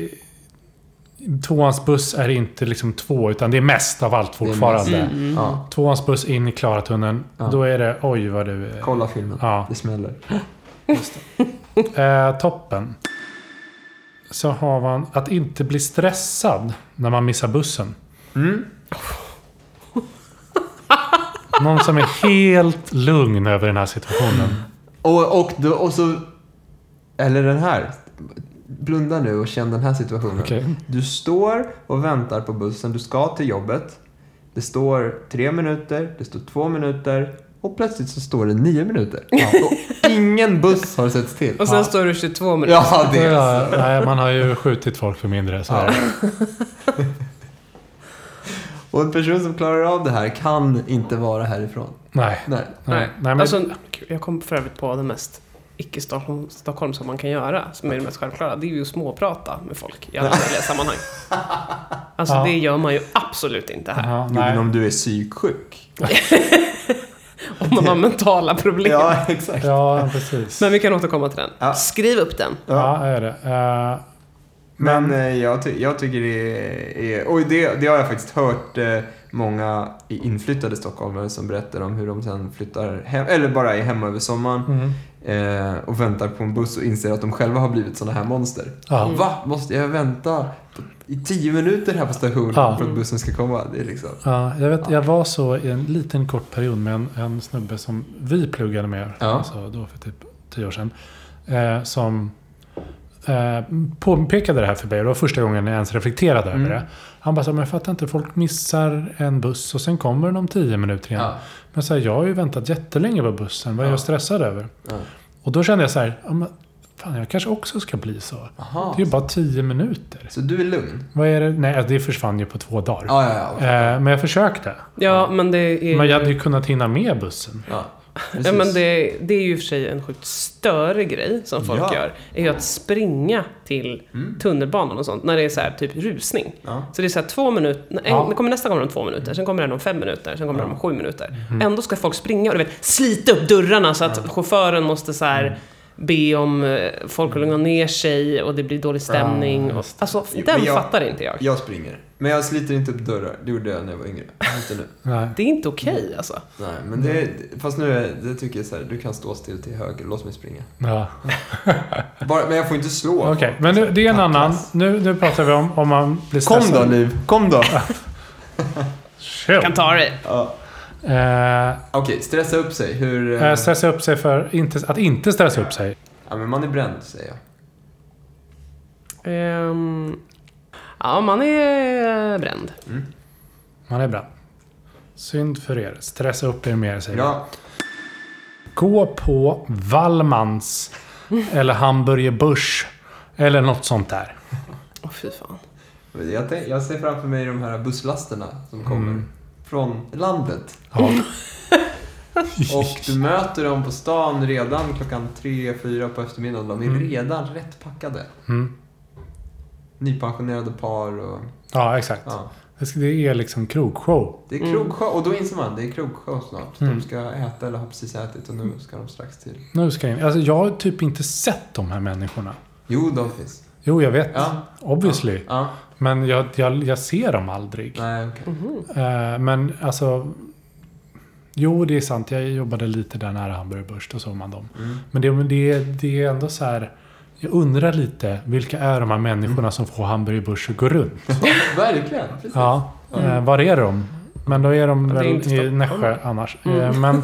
Speaker 2: tvåans buss är inte liksom två, utan det är mest av allt
Speaker 3: är mest.
Speaker 2: fortfarande.
Speaker 1: Mm, mm.
Speaker 3: Ja,
Speaker 2: Tvåans buss in i Klaratunneln.
Speaker 3: Ja.
Speaker 2: Då är det oj vad du... är-
Speaker 3: kolla filmen.
Speaker 2: Ja.
Speaker 3: Det smäller.
Speaker 2: Eh, toppen. Så har man att inte bli stressad när man missar bussen.
Speaker 3: Mm.
Speaker 2: Någon som är helt lugn över den här situationen.
Speaker 3: Och, och, då, och så... Eller den här. Blunda nu och känn den här situationen.
Speaker 2: Okej.
Speaker 3: Du står och väntar på bussen. Du ska till jobbet. Det står tre minuter, det står två minuter och plötsligt så står det nio minuter. Och ingen buss har setts till.
Speaker 1: Och sen står du 22 minuter.
Speaker 3: Ja, det är
Speaker 2: Ja, nej, man har ju skjutit folk för mindre. Så är det.
Speaker 3: Och en person som klarar av det här kan inte vara härifrån.
Speaker 2: Nej.
Speaker 3: Nej.
Speaker 1: Nej.
Speaker 2: Nej, men-
Speaker 1: alltså, gud, jag kom för övrigt på det mest icke-Stockholm Stockholm som man kan göra, som är det mest självklara. Det är ju att småprata med folk i alla möjliga sammanhang. Alltså
Speaker 2: Ja.
Speaker 1: det gör man ju absolut inte här.
Speaker 2: Ja,
Speaker 3: Men
Speaker 2: nej.
Speaker 3: om du är psyksjuk.
Speaker 1: Om man har mentala problem.
Speaker 3: Ja, exakt.
Speaker 2: ja precis.
Speaker 1: Men vi kan återkomma till den.
Speaker 3: Ja.
Speaker 1: Skriv upp den.
Speaker 2: Ja, det är det. Eh,
Speaker 3: Men eh, jag, ty- jag tycker det är... Och det, det har jag faktiskt hört eh, många i- inflyttade stockholmare som berättar om hur de sen flyttar hem, eller bara är hemma över sommaren
Speaker 2: mm.
Speaker 3: eh, och väntar på en buss och inser att de själva har blivit sådana här monster.
Speaker 2: ja.
Speaker 3: Va? Måste jag vänta på, i tio minuter här på stationen
Speaker 2: Ja.
Speaker 3: för att bussen ska komma? Det är liksom...
Speaker 2: Ja, jag, vet, jag var så i en liten kort period med en, en snubbe som vi pluggade med.
Speaker 3: Ja.
Speaker 2: Alltså då för typ tio år sedan. Eh, som eh, påpekade det här för mig. Det var första gången jag ens reflekterade
Speaker 3: Mm.
Speaker 2: över det. Han bara så här, men jag fattar inte. Folk missar en buss och sen kommer den om tio minuter igen.
Speaker 3: Ja.
Speaker 2: Men så här, jag har ju väntat jättelänge på bussen. Vad är
Speaker 3: Ja.
Speaker 2: jag stressad över?
Speaker 3: Ja.
Speaker 2: Och då kände jag så här, ja, men, fan jag kanske också ska bli så.
Speaker 3: Aha.
Speaker 2: Det är ju bara tio minuter.
Speaker 3: Så du är lugn?
Speaker 2: Vad är det? Nej, alltså, det försvann ju på två dagar.
Speaker 3: Ja, ja, ja.
Speaker 2: Eh, men jag försökte.
Speaker 1: Ja, men det är
Speaker 2: Men jag hade ju kunnat hinna med bussen.
Speaker 3: ja.
Speaker 1: Ja,
Speaker 3: precis.
Speaker 1: men det, det är ju i och för sig en sjukt större grej som folk
Speaker 3: Ja. Mm.
Speaker 1: gör. är ju att springa till tunnelbanan och sånt när det är så här, typ rusning.
Speaker 3: Ja.
Speaker 1: Så det är så här två minuter, en,
Speaker 2: Ja.
Speaker 1: det kommer nästa gång om två minuter, sen kommer den om fem minuter, sen kommer den om sju minuter.
Speaker 3: Mm.
Speaker 1: Ändå ska folk springa och du vet, slita upp dörrarna så att chauffören måste så
Speaker 3: Mm.
Speaker 1: här be om eh, folk att lugna ner sig och det blir dålig stämning. och, alltså,
Speaker 3: Jo,
Speaker 1: den
Speaker 3: men jag-
Speaker 1: fattar inte jag.
Speaker 3: Jag springer. Men jag sliter inte upp dörrar. Det gjorde jag när jag var yngre. Inte nu.
Speaker 2: Nej.
Speaker 1: Det är inte okej
Speaker 3: Mm.
Speaker 1: alltså.
Speaker 3: Nej, men det, fast nu är, det tycker jag så här, du kan stå still till höger, låt mig springa.
Speaker 2: Ja.
Speaker 3: Bara, men jag får inte slå.
Speaker 2: Okej, men nu, det är en annan. Nu, nu pratar vi om om man blir stressad.
Speaker 3: Liv, kom då.
Speaker 2: Shoot.
Speaker 1: Kan ta dig.
Speaker 3: Ja.
Speaker 2: Eh,
Speaker 3: Okej, stressa upp sig. Hur... eh,
Speaker 2: eh, stressa upp sig för inte, att inte stressa upp sig.
Speaker 3: Ja, men man är bränd, säger jag.
Speaker 1: Ehm, ja, man är eh, bränd.
Speaker 2: Man är bra. Synd för er. Stressa upp er mer säger vi.
Speaker 3: Ja,
Speaker 2: Gå på Wallmans eller Hamburger Busch Eller något sånt där.
Speaker 1: Åh fy fan.
Speaker 3: Jag, tänk, jag ser framför mig de här busslasterna som kommer
Speaker 2: Mm.
Speaker 3: från landet.
Speaker 2: Ja.
Speaker 3: Och du möter dem på stan redan klockan tre, fyra på eftermiddagen. De är
Speaker 2: Mm.
Speaker 3: redan rätt packade.
Speaker 2: Mm.
Speaker 3: Nypensionerade par och...
Speaker 2: ja, exakt.
Speaker 3: Ja.
Speaker 2: Det ska- Det är liksom krogshow.
Speaker 3: Det är
Speaker 1: Mm.
Speaker 3: krogshow. Och då inser man, det är krogshow snart.
Speaker 2: Mm.
Speaker 3: De ska äta eller har precis ätit och nu ska de strax till.
Speaker 2: Nu ska jag in. Alltså, jag har typ inte sett de här människorna.
Speaker 3: Jo, de finns.
Speaker 2: Jo, jag vet.
Speaker 3: Ja.
Speaker 2: Obviously.
Speaker 3: Ja.
Speaker 2: Men jag, jag, jag ser dem aldrig.
Speaker 3: Nej, okej.
Speaker 1: Mhm.
Speaker 2: Eh, men alltså... Jo, det är sant. Jag jobbade lite där nära Hamburger Börs. Då såg man dem.
Speaker 3: Mm.
Speaker 2: Men det, men det, det är ändå så här... Jag undrar lite, vilka är de här människorna som får Hamburger Börs att gå runt?
Speaker 3: Verkligen. Precis.
Speaker 2: Ja, eh, var är de? Men då är de
Speaker 1: Ja, det är
Speaker 2: väl
Speaker 1: inte
Speaker 2: i
Speaker 1: Stockholm.
Speaker 2: Nässjö annars. Eh, men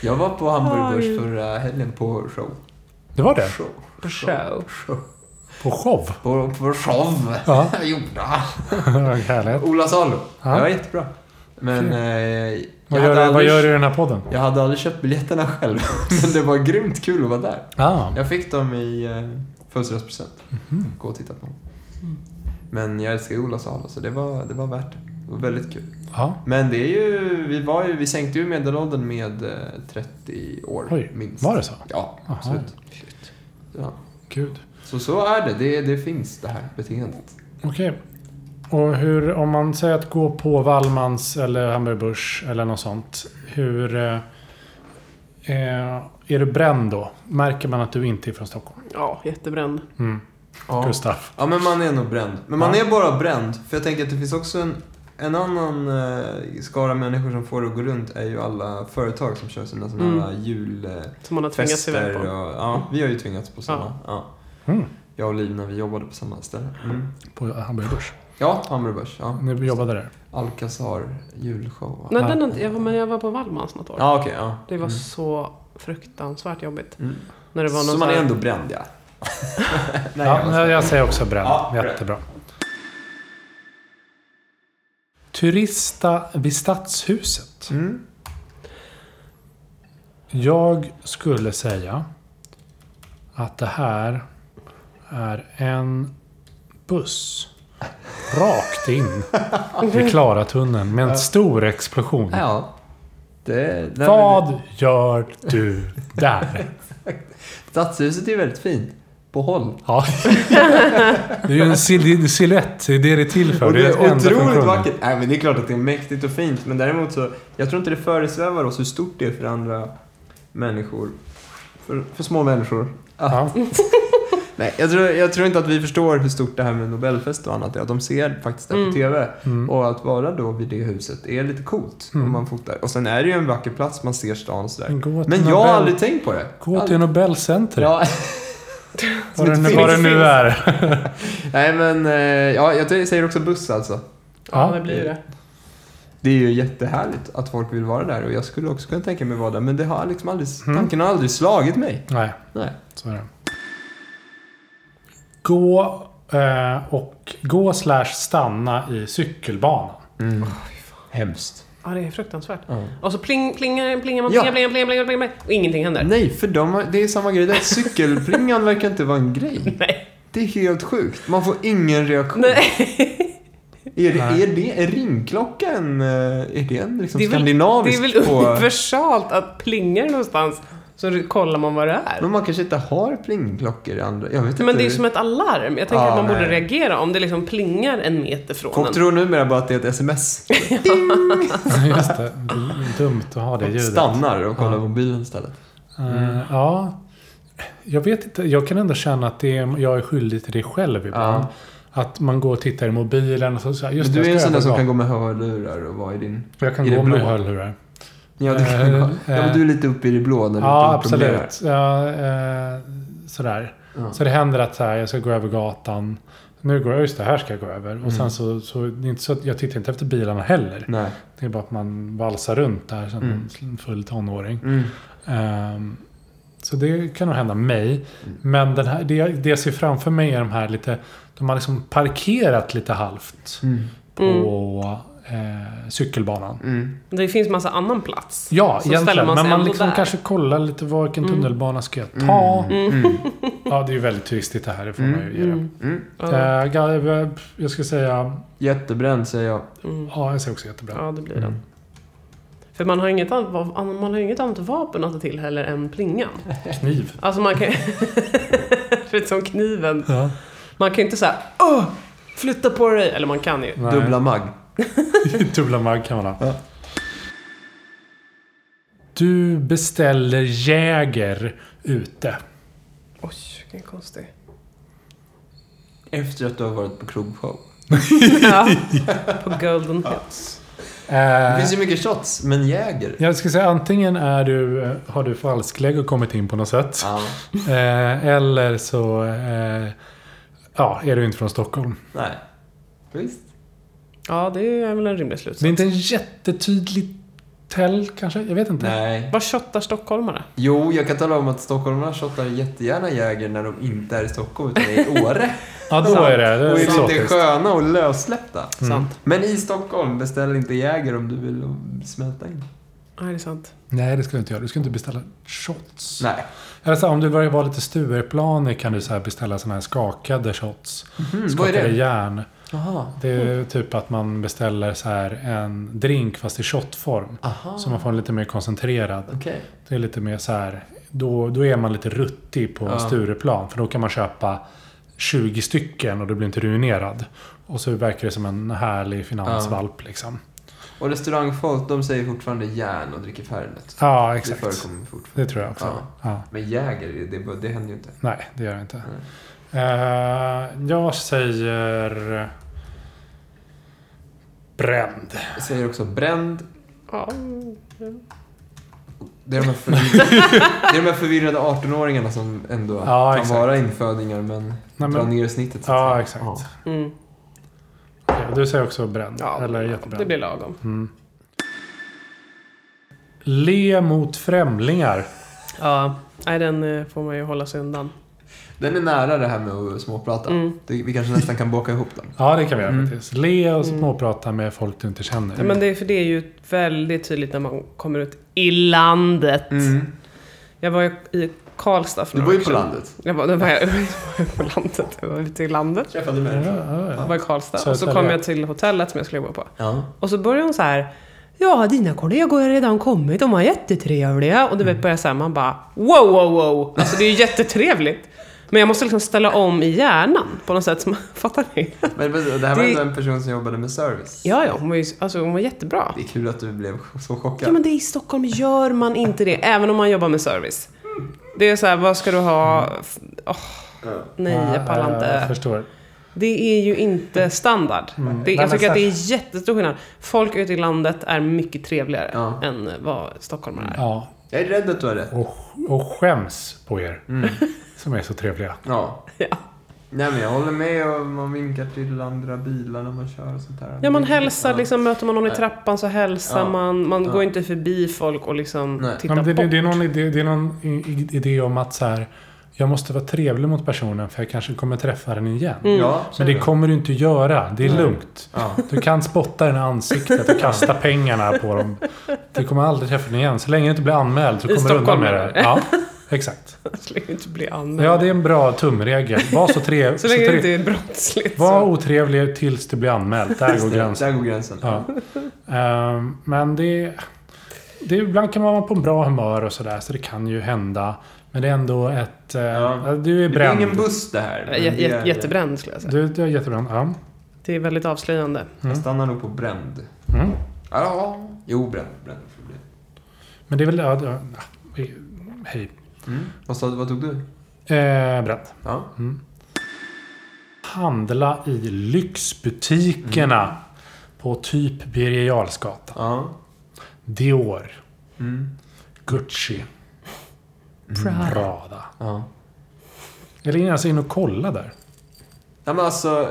Speaker 3: Jag var på Hamburgers
Speaker 1: Oj.
Speaker 3: förra helgen på show.
Speaker 2: det var det.
Speaker 3: Show.
Speaker 1: På show.
Speaker 2: På show.
Speaker 3: På, på show.
Speaker 2: Ja,
Speaker 3: Gjorda.
Speaker 2: vad härligt.
Speaker 3: Ola Salo.
Speaker 2: Ja.
Speaker 3: Det var jättebra. Men
Speaker 2: Kul.
Speaker 3: eh, jag,
Speaker 2: Vad gör,
Speaker 3: hade
Speaker 2: du- vad
Speaker 3: aldrig,
Speaker 2: gör du i den här podden?
Speaker 3: jag hade aldrig köpt biljetterna själv. Men det var grymt kul att vara där.
Speaker 2: Ah,
Speaker 3: Jag fick dem i eh, födelsedagspresent.
Speaker 2: Mhm.
Speaker 3: Gå och titta på dem. Men jag älskar ju Ola Salo så det var, det var värt det. Det var väldigt kul.
Speaker 2: ja.
Speaker 3: Men det är ju, vi var ju, vi sänkte ju medelåldern med eh, 30 år
Speaker 2: Oj,
Speaker 3: minst.
Speaker 2: var det så?
Speaker 3: Ja,
Speaker 2: Aha.
Speaker 3: absolut. Ja.
Speaker 2: Gud.
Speaker 3: Så så är det. det. Det finns det här beteendet.
Speaker 2: Okej. Och hur, om man säger att gå på Wallmans eller Hamburger Börs eller något sånt. Hur... eh, Eh, är du bränd då? Märker man att du inte är från Stockholm?
Speaker 1: Ja, jättebränd.
Speaker 2: Mm.
Speaker 3: Ja.
Speaker 2: Gustav.
Speaker 3: Ja, men man är nog bränd. Men man
Speaker 2: Ja.
Speaker 3: är bara bränd. För jag tänker att det finns också en, en annan eh, skara människor som får det att gå runt är ju alla företag som kör sina sådana
Speaker 1: Mm.
Speaker 3: här eh, julfester.
Speaker 1: Som man har tvingats iväg
Speaker 3: och,
Speaker 1: på. Mm.
Speaker 3: ja, vi har ju tvingats på samma. Ja.
Speaker 2: Mm.
Speaker 3: Jag och Liv när vi jobbade på samma ställe. Mm.
Speaker 2: På Hamburger Börs.
Speaker 3: Ja, Hamburgers. Ja.
Speaker 2: Ni jobbade där.
Speaker 3: Alcazar julshow. va?
Speaker 1: Nej,
Speaker 2: Ja.
Speaker 1: den har inte, jag, var- men jag var på Wallmans något år.
Speaker 3: Ja, okej. ja.
Speaker 1: Det var
Speaker 3: Mm.
Speaker 1: så fruktansvärt jobbigt.
Speaker 3: Mm.
Speaker 1: När det var någon
Speaker 3: Så man är
Speaker 1: sån här-
Speaker 3: ändå bränd, ja. Nej,
Speaker 2: ja,
Speaker 3: jag
Speaker 2: jag,
Speaker 3: var-
Speaker 2: jag säger också bränd.
Speaker 3: Ja, bränd.
Speaker 2: Jättebra. Turista vid Stadshuset.
Speaker 3: Mm.
Speaker 2: Jag skulle säga att det här är en buss rakt in i Klaratunneln med en stor explosion.
Speaker 3: ja. Det, nej, men
Speaker 2: Vad gör du där?
Speaker 3: det- Stadshuset är väldigt fint. På håll.
Speaker 2: Ja. Det är ju en sil- silhuett, det är det det är till för.
Speaker 3: Och det
Speaker 2: dess
Speaker 3: är
Speaker 2: enda
Speaker 3: otroligt
Speaker 2: funktion.
Speaker 3: vackert. Nej, men det är klart att det är mäktigt och fint, men däremot så... Jag tror inte det föresvävar oss hur stort det är för andra människor. För, för små människor.
Speaker 2: Ja.
Speaker 3: Nej, jag tror, jag tror inte att vi förstår hur stort det här med Nobelfest och annat är. Att de ser faktiskt det på
Speaker 1: Mm.
Speaker 3: TV.
Speaker 2: Mm.
Speaker 3: Och att vara då vid det huset är lite coolt
Speaker 2: Mm.
Speaker 3: om man fotar. Och sen är det ju en vacker plats, man ser stan och sådär.
Speaker 2: Men gå till
Speaker 3: Men jag har
Speaker 2: Nobel-
Speaker 3: aldrig tänkt på det.
Speaker 2: Gå till Nobelcenter.
Speaker 3: Ja,
Speaker 2: vad det,
Speaker 3: ett
Speaker 2: nu-
Speaker 3: finns-
Speaker 2: vad det nu är.
Speaker 3: nej men, eh, ja, jag säger också buss alltså.
Speaker 1: Ja,
Speaker 2: Ja.
Speaker 1: det blir ju
Speaker 3: Mm.
Speaker 1: det.
Speaker 3: Det är ju jättehärligt att folk vill vara där och jag skulle också kunna tänka mig vara där men det har liksom aldrig,
Speaker 2: Mm.
Speaker 3: tanken har aldrig slagit mig.
Speaker 2: Nej,
Speaker 3: Nej.
Speaker 2: så är det. Gå eh, och gå slash stanna i cykelbanan.
Speaker 3: Mm. Hemskt.
Speaker 1: Ja, det är fruktansvärt.
Speaker 3: Ja.
Speaker 1: Och så pling, plingar, plingar man,
Speaker 3: Ja. Mm.
Speaker 1: plingar, plingar, plingar, plingar, plingar, och ingenting händer.
Speaker 3: Nej, för de har, det är samma grej där. Cykelplingan verkar inte vara en grej.
Speaker 1: Nej.
Speaker 3: Det är helt sjukt. Man får ingen reaktion.
Speaker 1: Nej.
Speaker 3: Är, det,
Speaker 2: Nej.
Speaker 3: är det en ringklocka? En, eh, är det en liksom
Speaker 1: Det är väl- Det
Speaker 3: skandinavisk
Speaker 1: är väl
Speaker 3: på...
Speaker 1: universalt att plingar någonstans så kollar man vad det är.
Speaker 3: Men man kanske inte har plingklockor i andra... Jag vet inte.
Speaker 1: Men det är som ett alarm. Jag tänker
Speaker 3: Mm. Ja,
Speaker 1: att man borde
Speaker 3: nej.
Speaker 1: reagera om det liksom plingar en meter från
Speaker 3: Folk
Speaker 1: en.
Speaker 3: tror numera bara att det är ett sms.
Speaker 2: Just det. Det är dumt att ha det ljudet.
Speaker 3: Stannar och kollar
Speaker 2: Ja.
Speaker 3: på mobilen istället.
Speaker 2: Eh, ja. Jag vet inte. Jag kan ändå känna att det är, jag är skyldig till det själv ibland. Att man går och tittar i mobilen och så, så här, just
Speaker 3: Men du
Speaker 2: det,
Speaker 3: är en
Speaker 2: jag
Speaker 3: sån
Speaker 2: ska
Speaker 3: där som kan
Speaker 2: övergå.
Speaker 3: gå med hörlurar och vara i din...
Speaker 2: Jag kan
Speaker 3: i det
Speaker 2: gå med
Speaker 3: blå.
Speaker 2: hörlurar.
Speaker 3: Ja, du kan
Speaker 2: Eh,
Speaker 3: gå. Ja, men du är lite uppe i det blå när du
Speaker 2: Ja,
Speaker 3: inte improviserar.
Speaker 2: absolut. Ja, eh, sådär.
Speaker 3: Ja.
Speaker 2: Så det händer att så här, jag ska gå över gatan. Nu går jag, just det, här ska jag gå över. Och
Speaker 3: Mm.
Speaker 2: sen så, så, det är inte så att jag tittar inte efter bilarna heller.
Speaker 3: Nej.
Speaker 2: Det är bara att man valsar runt där som
Speaker 3: Mm.
Speaker 2: en full tonåring.
Speaker 3: Mm.
Speaker 2: Ehm, så det kan nog hända mig.
Speaker 3: Mm.
Speaker 2: Men den här, det, jag- det jag ser framför mig är de här lite... De har liksom parkerat lite halvt
Speaker 3: Mm.
Speaker 2: på eh, cykelbanan.
Speaker 3: Mm.
Speaker 1: Det finns massa annan plats. Så
Speaker 2: Ja,
Speaker 1: ställer
Speaker 2: egentligen.
Speaker 1: man
Speaker 2: men
Speaker 1: sig
Speaker 2: man
Speaker 1: ändå
Speaker 2: liksom
Speaker 1: där.
Speaker 2: kanske kollar lite vilken
Speaker 1: Mm.
Speaker 2: tunnelbana ska jag ta?
Speaker 3: Mm. Mm.
Speaker 2: Ja, det är ju väldigt turistigt det här. Det får man ju ge det.
Speaker 1: Mm.
Speaker 3: Mm.
Speaker 1: Ja.
Speaker 2: Eh, ga- Jag ska säga...
Speaker 3: Jättebränd säger jag.
Speaker 1: Mm.
Speaker 2: Ja, jag säger också jättebra.
Speaker 1: ja, det blir
Speaker 2: Mm.
Speaker 1: den. För man har, inget annat, va- man har inget annat vapen att ta till heller än plingan.
Speaker 2: Kniv.
Speaker 1: Alltså man kan Förutom kniven.
Speaker 2: Ja.
Speaker 1: Man kan ju inte säga Åh! Flytta på dig! Eller man kan ju.
Speaker 2: Nej.
Speaker 3: Dubbla magg.
Speaker 2: Dubbla magg kan man ha.
Speaker 3: Ja.
Speaker 2: Du beställer Jäger ute.
Speaker 1: Oj, vilken konstig.
Speaker 3: Efter att du har varit på krogshow.
Speaker 1: ja. På Golden Hills.
Speaker 2: Eh,
Speaker 3: Det finns ju mycket shots, men Jäger.
Speaker 2: jag ska säga antingen är du, eh, har du falsklägg och kommit in på något sätt.
Speaker 3: Ja.
Speaker 2: Eh, eller så eh, ja, är du inte från Stockholm.
Speaker 3: Nej. Visst.
Speaker 1: Ja, det är väl en rimlig
Speaker 2: Det är
Speaker 1: slutsats.
Speaker 2: inte en jättetydlig tell kanske? Jag vet inte.
Speaker 3: Nej.
Speaker 1: Vad köttar stockholmare?
Speaker 3: Jo, jag kan tala om att stockholmarna shottar jättegärna Jäger när de inte är i Stockholm utan är i Åre.
Speaker 2: Ja, då är det. det
Speaker 3: Och
Speaker 2: är
Speaker 3: är lite
Speaker 2: exotiskt. Mm.
Speaker 3: sköna och lössläppta.
Speaker 1: Sant.
Speaker 3: Men i Stockholm, beställ inte Jäger om du vill smälta in.
Speaker 1: Nej, det är sant.
Speaker 2: Nej, det ska du inte göra. Du ska inte beställa shots.
Speaker 3: Nej.
Speaker 2: Eller så här, om du börjar vara lite Stureplanig kan du så här beställa såna här skakade shots.
Speaker 3: Mm, vad är
Speaker 2: skakade
Speaker 3: det? Mm.
Speaker 2: järn.
Speaker 3: Aha.
Speaker 2: Mhm, Det är typ att man beställer så här en drink fast i shotform.
Speaker 3: Aha.
Speaker 2: Så man får en lite mer koncentrerad.
Speaker 3: Okej.
Speaker 2: Det är lite mer så här, då, då är man lite ruttig på
Speaker 3: Ja.
Speaker 2: Stureplan. För då kan man köpa 20 stycken och du blir inte ruinerad. Och så verkar det som en härlig finansvalp liksom.
Speaker 3: Och restaurangfolk, de säger fortfarande järn och dricker Fernet.
Speaker 2: Ja,
Speaker 3: Det
Speaker 2: exakt.
Speaker 3: förekommer fortfarande.
Speaker 2: Det tror jag också.
Speaker 3: Ja.
Speaker 2: Ja.
Speaker 3: Men Jäger, det, det händer ju inte.
Speaker 2: Nej, det gör jag inte. Eh, jag säger... Bränd.
Speaker 3: Jag säger också bränd.
Speaker 1: Ja.
Speaker 3: Det är de här förvirrade, det är de här förvirrade 18-åringarna som ändå
Speaker 2: Ja,
Speaker 3: kan
Speaker 2: exakt.
Speaker 3: vara infödingar men,
Speaker 2: men-
Speaker 3: drar ner snittet. så att
Speaker 2: Ja,
Speaker 3: säga.
Speaker 2: exakt.
Speaker 1: Mm.
Speaker 2: Okej, Du säger också bränd.
Speaker 1: ja
Speaker 2: eller
Speaker 1: det
Speaker 2: jättebränd.
Speaker 1: blir lagom.
Speaker 2: Mm. Le mot främlingar.
Speaker 1: Ja. Nej, den eh, får man ju hålla sig undan.
Speaker 3: Den är nära det här med att småprata.
Speaker 1: Mm.
Speaker 3: Det, vi kanske nästan kan baka ihop dem.
Speaker 2: Ja, det kan vi göra
Speaker 3: Mm.
Speaker 2: faktiskt. Le och
Speaker 1: Mm.
Speaker 2: småprata med folk du inte känner.
Speaker 1: Ja, men det, är- för det är ju väldigt tydligt när man kommer ut i landet. Jag var ju i Karlstad för
Speaker 3: Du
Speaker 1: några
Speaker 3: bor ju
Speaker 1: år
Speaker 3: på
Speaker 1: sedan.
Speaker 3: landet.
Speaker 1: Jag var, då var jag, jag var ju på landet. Jag var ute i landet.
Speaker 3: Träffade
Speaker 2: Ja, ja,
Speaker 1: Jag
Speaker 2: ja.
Speaker 1: var i Karlstad. och så
Speaker 2: Södertälje.
Speaker 1: kom jag till hotellet som jag skulle bo på.
Speaker 3: Ja.
Speaker 1: Och så började hon så här. Ja, dina kollegor har redan kommit. De var jättetrevliga. Och du vet, börjar så här, man bara wow, wow, wow. Alltså det är ju jättetrevligt. Men jag måste liksom ställa om i hjärnan på något sätt. Som, fattar ni?
Speaker 3: Men men det här var
Speaker 1: Det-
Speaker 3: ändå en person som jobbade med service.
Speaker 1: Ja, ja, hon var ju alltså, hon var jättebra.
Speaker 3: Det är kul att du blev så
Speaker 1: Ja,
Speaker 3: chockad.
Speaker 1: men det är i Stockholm gör man inte det, även om man jobbar med service. Det är så här, vad ska du ha? F- Åh, nej, jag pallar
Speaker 2: Ja, Jag
Speaker 1: inte.
Speaker 2: förstår.
Speaker 1: Det är ju inte standard.
Speaker 2: Mm.
Speaker 1: Det,
Speaker 2: Nej,
Speaker 1: jag
Speaker 2: men
Speaker 1: tycker att
Speaker 2: så-
Speaker 1: det är jättestor skillnad. Folk ute i landet är mycket trevligare
Speaker 3: Ja.
Speaker 1: än vad stockholmare är.
Speaker 2: Ja,
Speaker 3: Jag är rädd att du har rätt.
Speaker 2: och, och skäms på er.
Speaker 1: Mm.
Speaker 2: Som är så trevliga.
Speaker 3: Ja.
Speaker 1: Ja.
Speaker 3: Nej men jag håller med och man vinkar till andra bilar när man kör och sånt där.
Speaker 1: Ja, man hälsar,
Speaker 3: Ja.
Speaker 1: liksom, möter man någon i
Speaker 3: Nej.
Speaker 1: trappan så hälsar
Speaker 3: Ja.
Speaker 1: man. Man
Speaker 3: Ja.
Speaker 1: går inte förbi folk och liksom
Speaker 3: Nej.
Speaker 2: Ja,
Speaker 1: tittar
Speaker 2: men det,
Speaker 1: bort.
Speaker 2: det, det är någon, idé, det är någon i- i- idé om att så här, jag måste vara trevlig mot personen för jag kanske kommer träffa den igen.
Speaker 1: Mm.
Speaker 3: Ja, så
Speaker 2: Men
Speaker 3: är
Speaker 2: det kommer du inte göra. Det är lugnt.
Speaker 3: Ja.
Speaker 2: Du kan spotta den i ansiktet och kasta pengarna på dem. Du kommer aldrig träffa den igen. Så länge du inte blir anmäld så
Speaker 1: I
Speaker 2: kommer du undan
Speaker 1: Stockholm,
Speaker 2: med det.
Speaker 1: eller?
Speaker 2: Ja, exakt.
Speaker 1: Jag skulle inte bli anmäld.
Speaker 2: Ja, det är en bra tumregel. Var så trevlig.
Speaker 1: Så länge det inte är brottsligt.
Speaker 2: Var
Speaker 1: Så.
Speaker 2: otrevlig tills du blir anmäld. Där går
Speaker 3: Just det,
Speaker 2: gränsen.
Speaker 3: Där går gränsen.
Speaker 2: Ja. Ehm, men det, det... Ibland kan man vara på en bra humör och sådär, så det kan ju hända. Men det är ändå ett... eh,
Speaker 3: Ja.
Speaker 2: Du är
Speaker 3: Det är ingen
Speaker 2: bränd.
Speaker 3: buss det här.
Speaker 1: Jä-
Speaker 3: men det
Speaker 1: jä-
Speaker 3: är-
Speaker 1: Jättebränd skulle jag säga.
Speaker 2: Du, du är jättebränd. Ja.
Speaker 1: Det är väldigt avslöjande.
Speaker 3: Jag stannar nog på bränd.
Speaker 2: Mm.
Speaker 3: Ja, jo bränd. bränd får det bli.
Speaker 2: Men det är väl... Ja, det- ja, vi- hej.
Speaker 3: Mm. Vad, sa, du- vad tog du?
Speaker 2: Eh, bränd.
Speaker 3: Ja.
Speaker 2: Handla i lyxbutikerna
Speaker 3: Mm.
Speaker 2: på typ Birger Jarlsgatan.
Speaker 3: ja.
Speaker 2: Dior,
Speaker 3: Mm.
Speaker 2: Gucci,
Speaker 1: Prada.
Speaker 2: Prada.
Speaker 3: ja.
Speaker 2: Eller in- alltså in och kolla där.
Speaker 3: Ja, men alltså,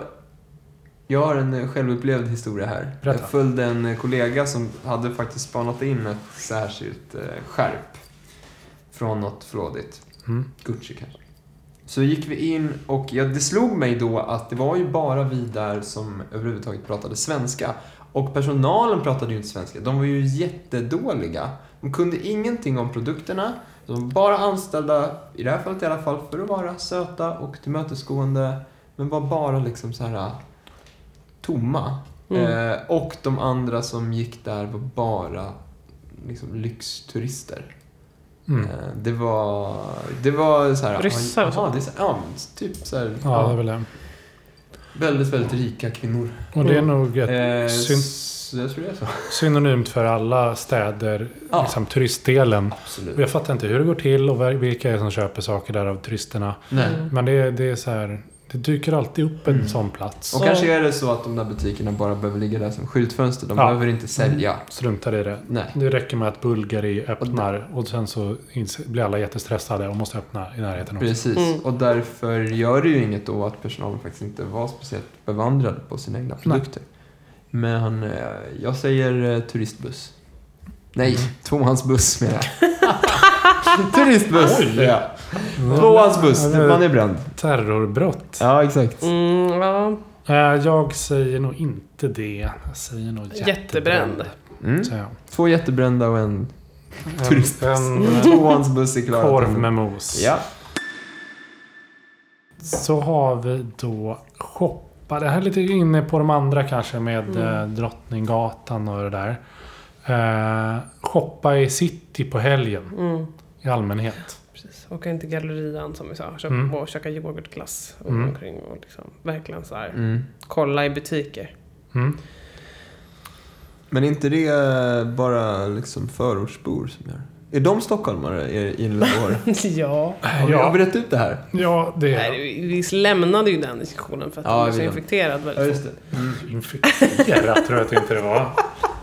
Speaker 3: jag har en eh, självupplevd historia här.
Speaker 2: Berätta.
Speaker 3: Jag följde en eh, kollega som hade faktiskt spanat in ett särskilt eh, skärp från något flådigt.
Speaker 2: Mm.
Speaker 3: Gucci kanske. Så gick vi in och ja, det slog mig då att det var ju bara vi där som överhuvudtaget pratade svenska. Och personalen pratade ju inte svenska. De var ju jättedåliga. De kunde ingenting om produkterna. De var bara anställda, i det här fallet i alla fall, för att vara söta och tillmötesgående. Men var bara liksom så här tomma.
Speaker 1: Mm.
Speaker 3: Eh, och de andra som gick där var bara liksom, lyxturister.
Speaker 2: Mm.
Speaker 3: Eh, det var Det var så här...
Speaker 1: Ryssar och
Speaker 3: aha,
Speaker 1: så.
Speaker 3: det är så, ja, men typ så här,
Speaker 2: Ja, det är
Speaker 3: ja,
Speaker 2: väl det.
Speaker 3: Väldigt, väldigt rika kvinnor.
Speaker 2: Och det är nog ett
Speaker 3: Eh,
Speaker 2: syn-
Speaker 3: s- jag tror det är så.
Speaker 2: synonymt för alla städer,
Speaker 3: Ja.
Speaker 2: liksom turistdelen. Och
Speaker 3: Absolut.
Speaker 2: Jag fattar inte hur det går till och ver- vilka är det som köper saker där av turisterna.
Speaker 3: Nej.
Speaker 1: Mm.
Speaker 2: Men det, är- det är så här, det dyker alltid upp en
Speaker 3: Mm.
Speaker 2: sån plats.
Speaker 3: Och
Speaker 1: Så-
Speaker 3: kanske är det så att de där butikerna bara behöver ligga där som skyltfönster. De
Speaker 2: Ja. Mm.
Speaker 3: behöver inte sälja.
Speaker 2: Struntar i det.
Speaker 3: Nej.
Speaker 2: Det räcker med att Bulgari öppnar och sen så ins- blir alla jättestressade och måste öppna i närheten också.
Speaker 3: Precis.
Speaker 1: Mm.
Speaker 3: Och därför gör det ju inget då att personalen faktiskt inte var speciellt bevandrad på sina egna produkter. Men eh, jag säger eh, turistbuss. Nej,
Speaker 2: Mm.
Speaker 3: tvåhandsbuss menar jag. turistbuss!
Speaker 2: Oj.
Speaker 3: Ja.
Speaker 2: Men-
Speaker 3: Tvåhandsbuss,
Speaker 2: Ja, men-
Speaker 3: man Mm. är bränd.
Speaker 2: Terrorbrott.
Speaker 3: Ja, exakt.
Speaker 1: Mm, ja.
Speaker 2: Eh, Jag säger nog inte det. Jag säger nog jättebränd.
Speaker 1: Jättebränd.
Speaker 3: Mm.
Speaker 2: säger jag.
Speaker 3: Två jättebrända och en Turistbuss.
Speaker 2: En, en
Speaker 3: tvåhandsbuss är klar.
Speaker 2: korv med mos.
Speaker 3: Ja.
Speaker 2: Så har vi då shoppa. Det här är lite inne på de andra kanske med
Speaker 1: Mm.
Speaker 2: eh, Drottninggatan och det där. Eh, shoppa i city på helgen
Speaker 1: Mm,
Speaker 2: i allmänhet.
Speaker 1: precis. Åka in till gallerian som vi sa. Köp,
Speaker 2: Mm.
Speaker 1: Och käka yoghurtglass och
Speaker 2: Mm.
Speaker 1: gå omkring och liksom verkligen så här.
Speaker 3: Mm.
Speaker 1: Kolla i butiker.
Speaker 2: Mm.
Speaker 3: Men är inte det eh, bara liksom förortsbor som gör det? Är de stockholmare i i Lindesberg?
Speaker 1: ja.
Speaker 3: Har vi- Har vi rätt ut det här?
Speaker 2: Ja, det
Speaker 1: Nej,
Speaker 2: är
Speaker 1: vi vi lämnade ju den diskussionen för att
Speaker 3: Ja,
Speaker 1: den var
Speaker 3: vi
Speaker 1: så
Speaker 3: lämnade.
Speaker 1: infekterad väldigt fort.
Speaker 3: det.
Speaker 2: infekterat tror jag att Mm. inte det var.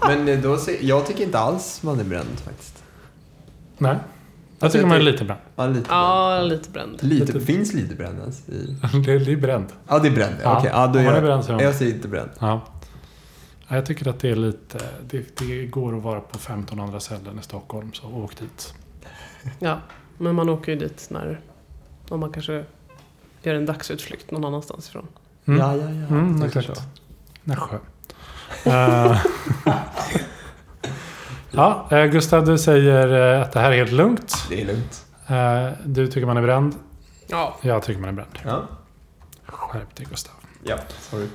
Speaker 3: Men eh, då, se- jag tycker inte alls man är bränd faktiskt.
Speaker 2: Nej. Jag
Speaker 3: Alltså,
Speaker 2: tycker
Speaker 3: jag
Speaker 2: man är
Speaker 3: tyck-
Speaker 2: lite bränd.
Speaker 3: Ja, lite
Speaker 1: Ja, lite bränd.
Speaker 3: bränd. Lite, finns lite bränd ens i...
Speaker 2: Det är bränd.
Speaker 3: Ja, det är bränd.
Speaker 2: Ja,
Speaker 3: Okej, ja, då
Speaker 2: om man
Speaker 3: är
Speaker 2: är bränd så är
Speaker 3: jag,
Speaker 2: man-
Speaker 3: jag säger inte bränd.
Speaker 2: Ja. Ja, Jag tycker att det är lite... Det, det går att vara på 15 andra ställen i Stockholm, så åk dit.
Speaker 1: Ja, men man åker ju dit när om man kanske gör en dagsutflykt någon annanstans ifrån.
Speaker 2: Mm.
Speaker 3: Ja, ja, ja.
Speaker 2: Mm,
Speaker 3: Jag
Speaker 2: exakt.
Speaker 3: förstår.
Speaker 2: Nässjö. Eh, ja, eh, Gustav, du säger eh, att det här är helt lugnt.
Speaker 3: Det är lugnt.
Speaker 2: Eh, Du tycker man är bränd.
Speaker 1: Ja,
Speaker 2: Jag tycker man är bränd.
Speaker 3: Ja,
Speaker 2: Skärp dig, Gustav.
Speaker 3: ja. sorry.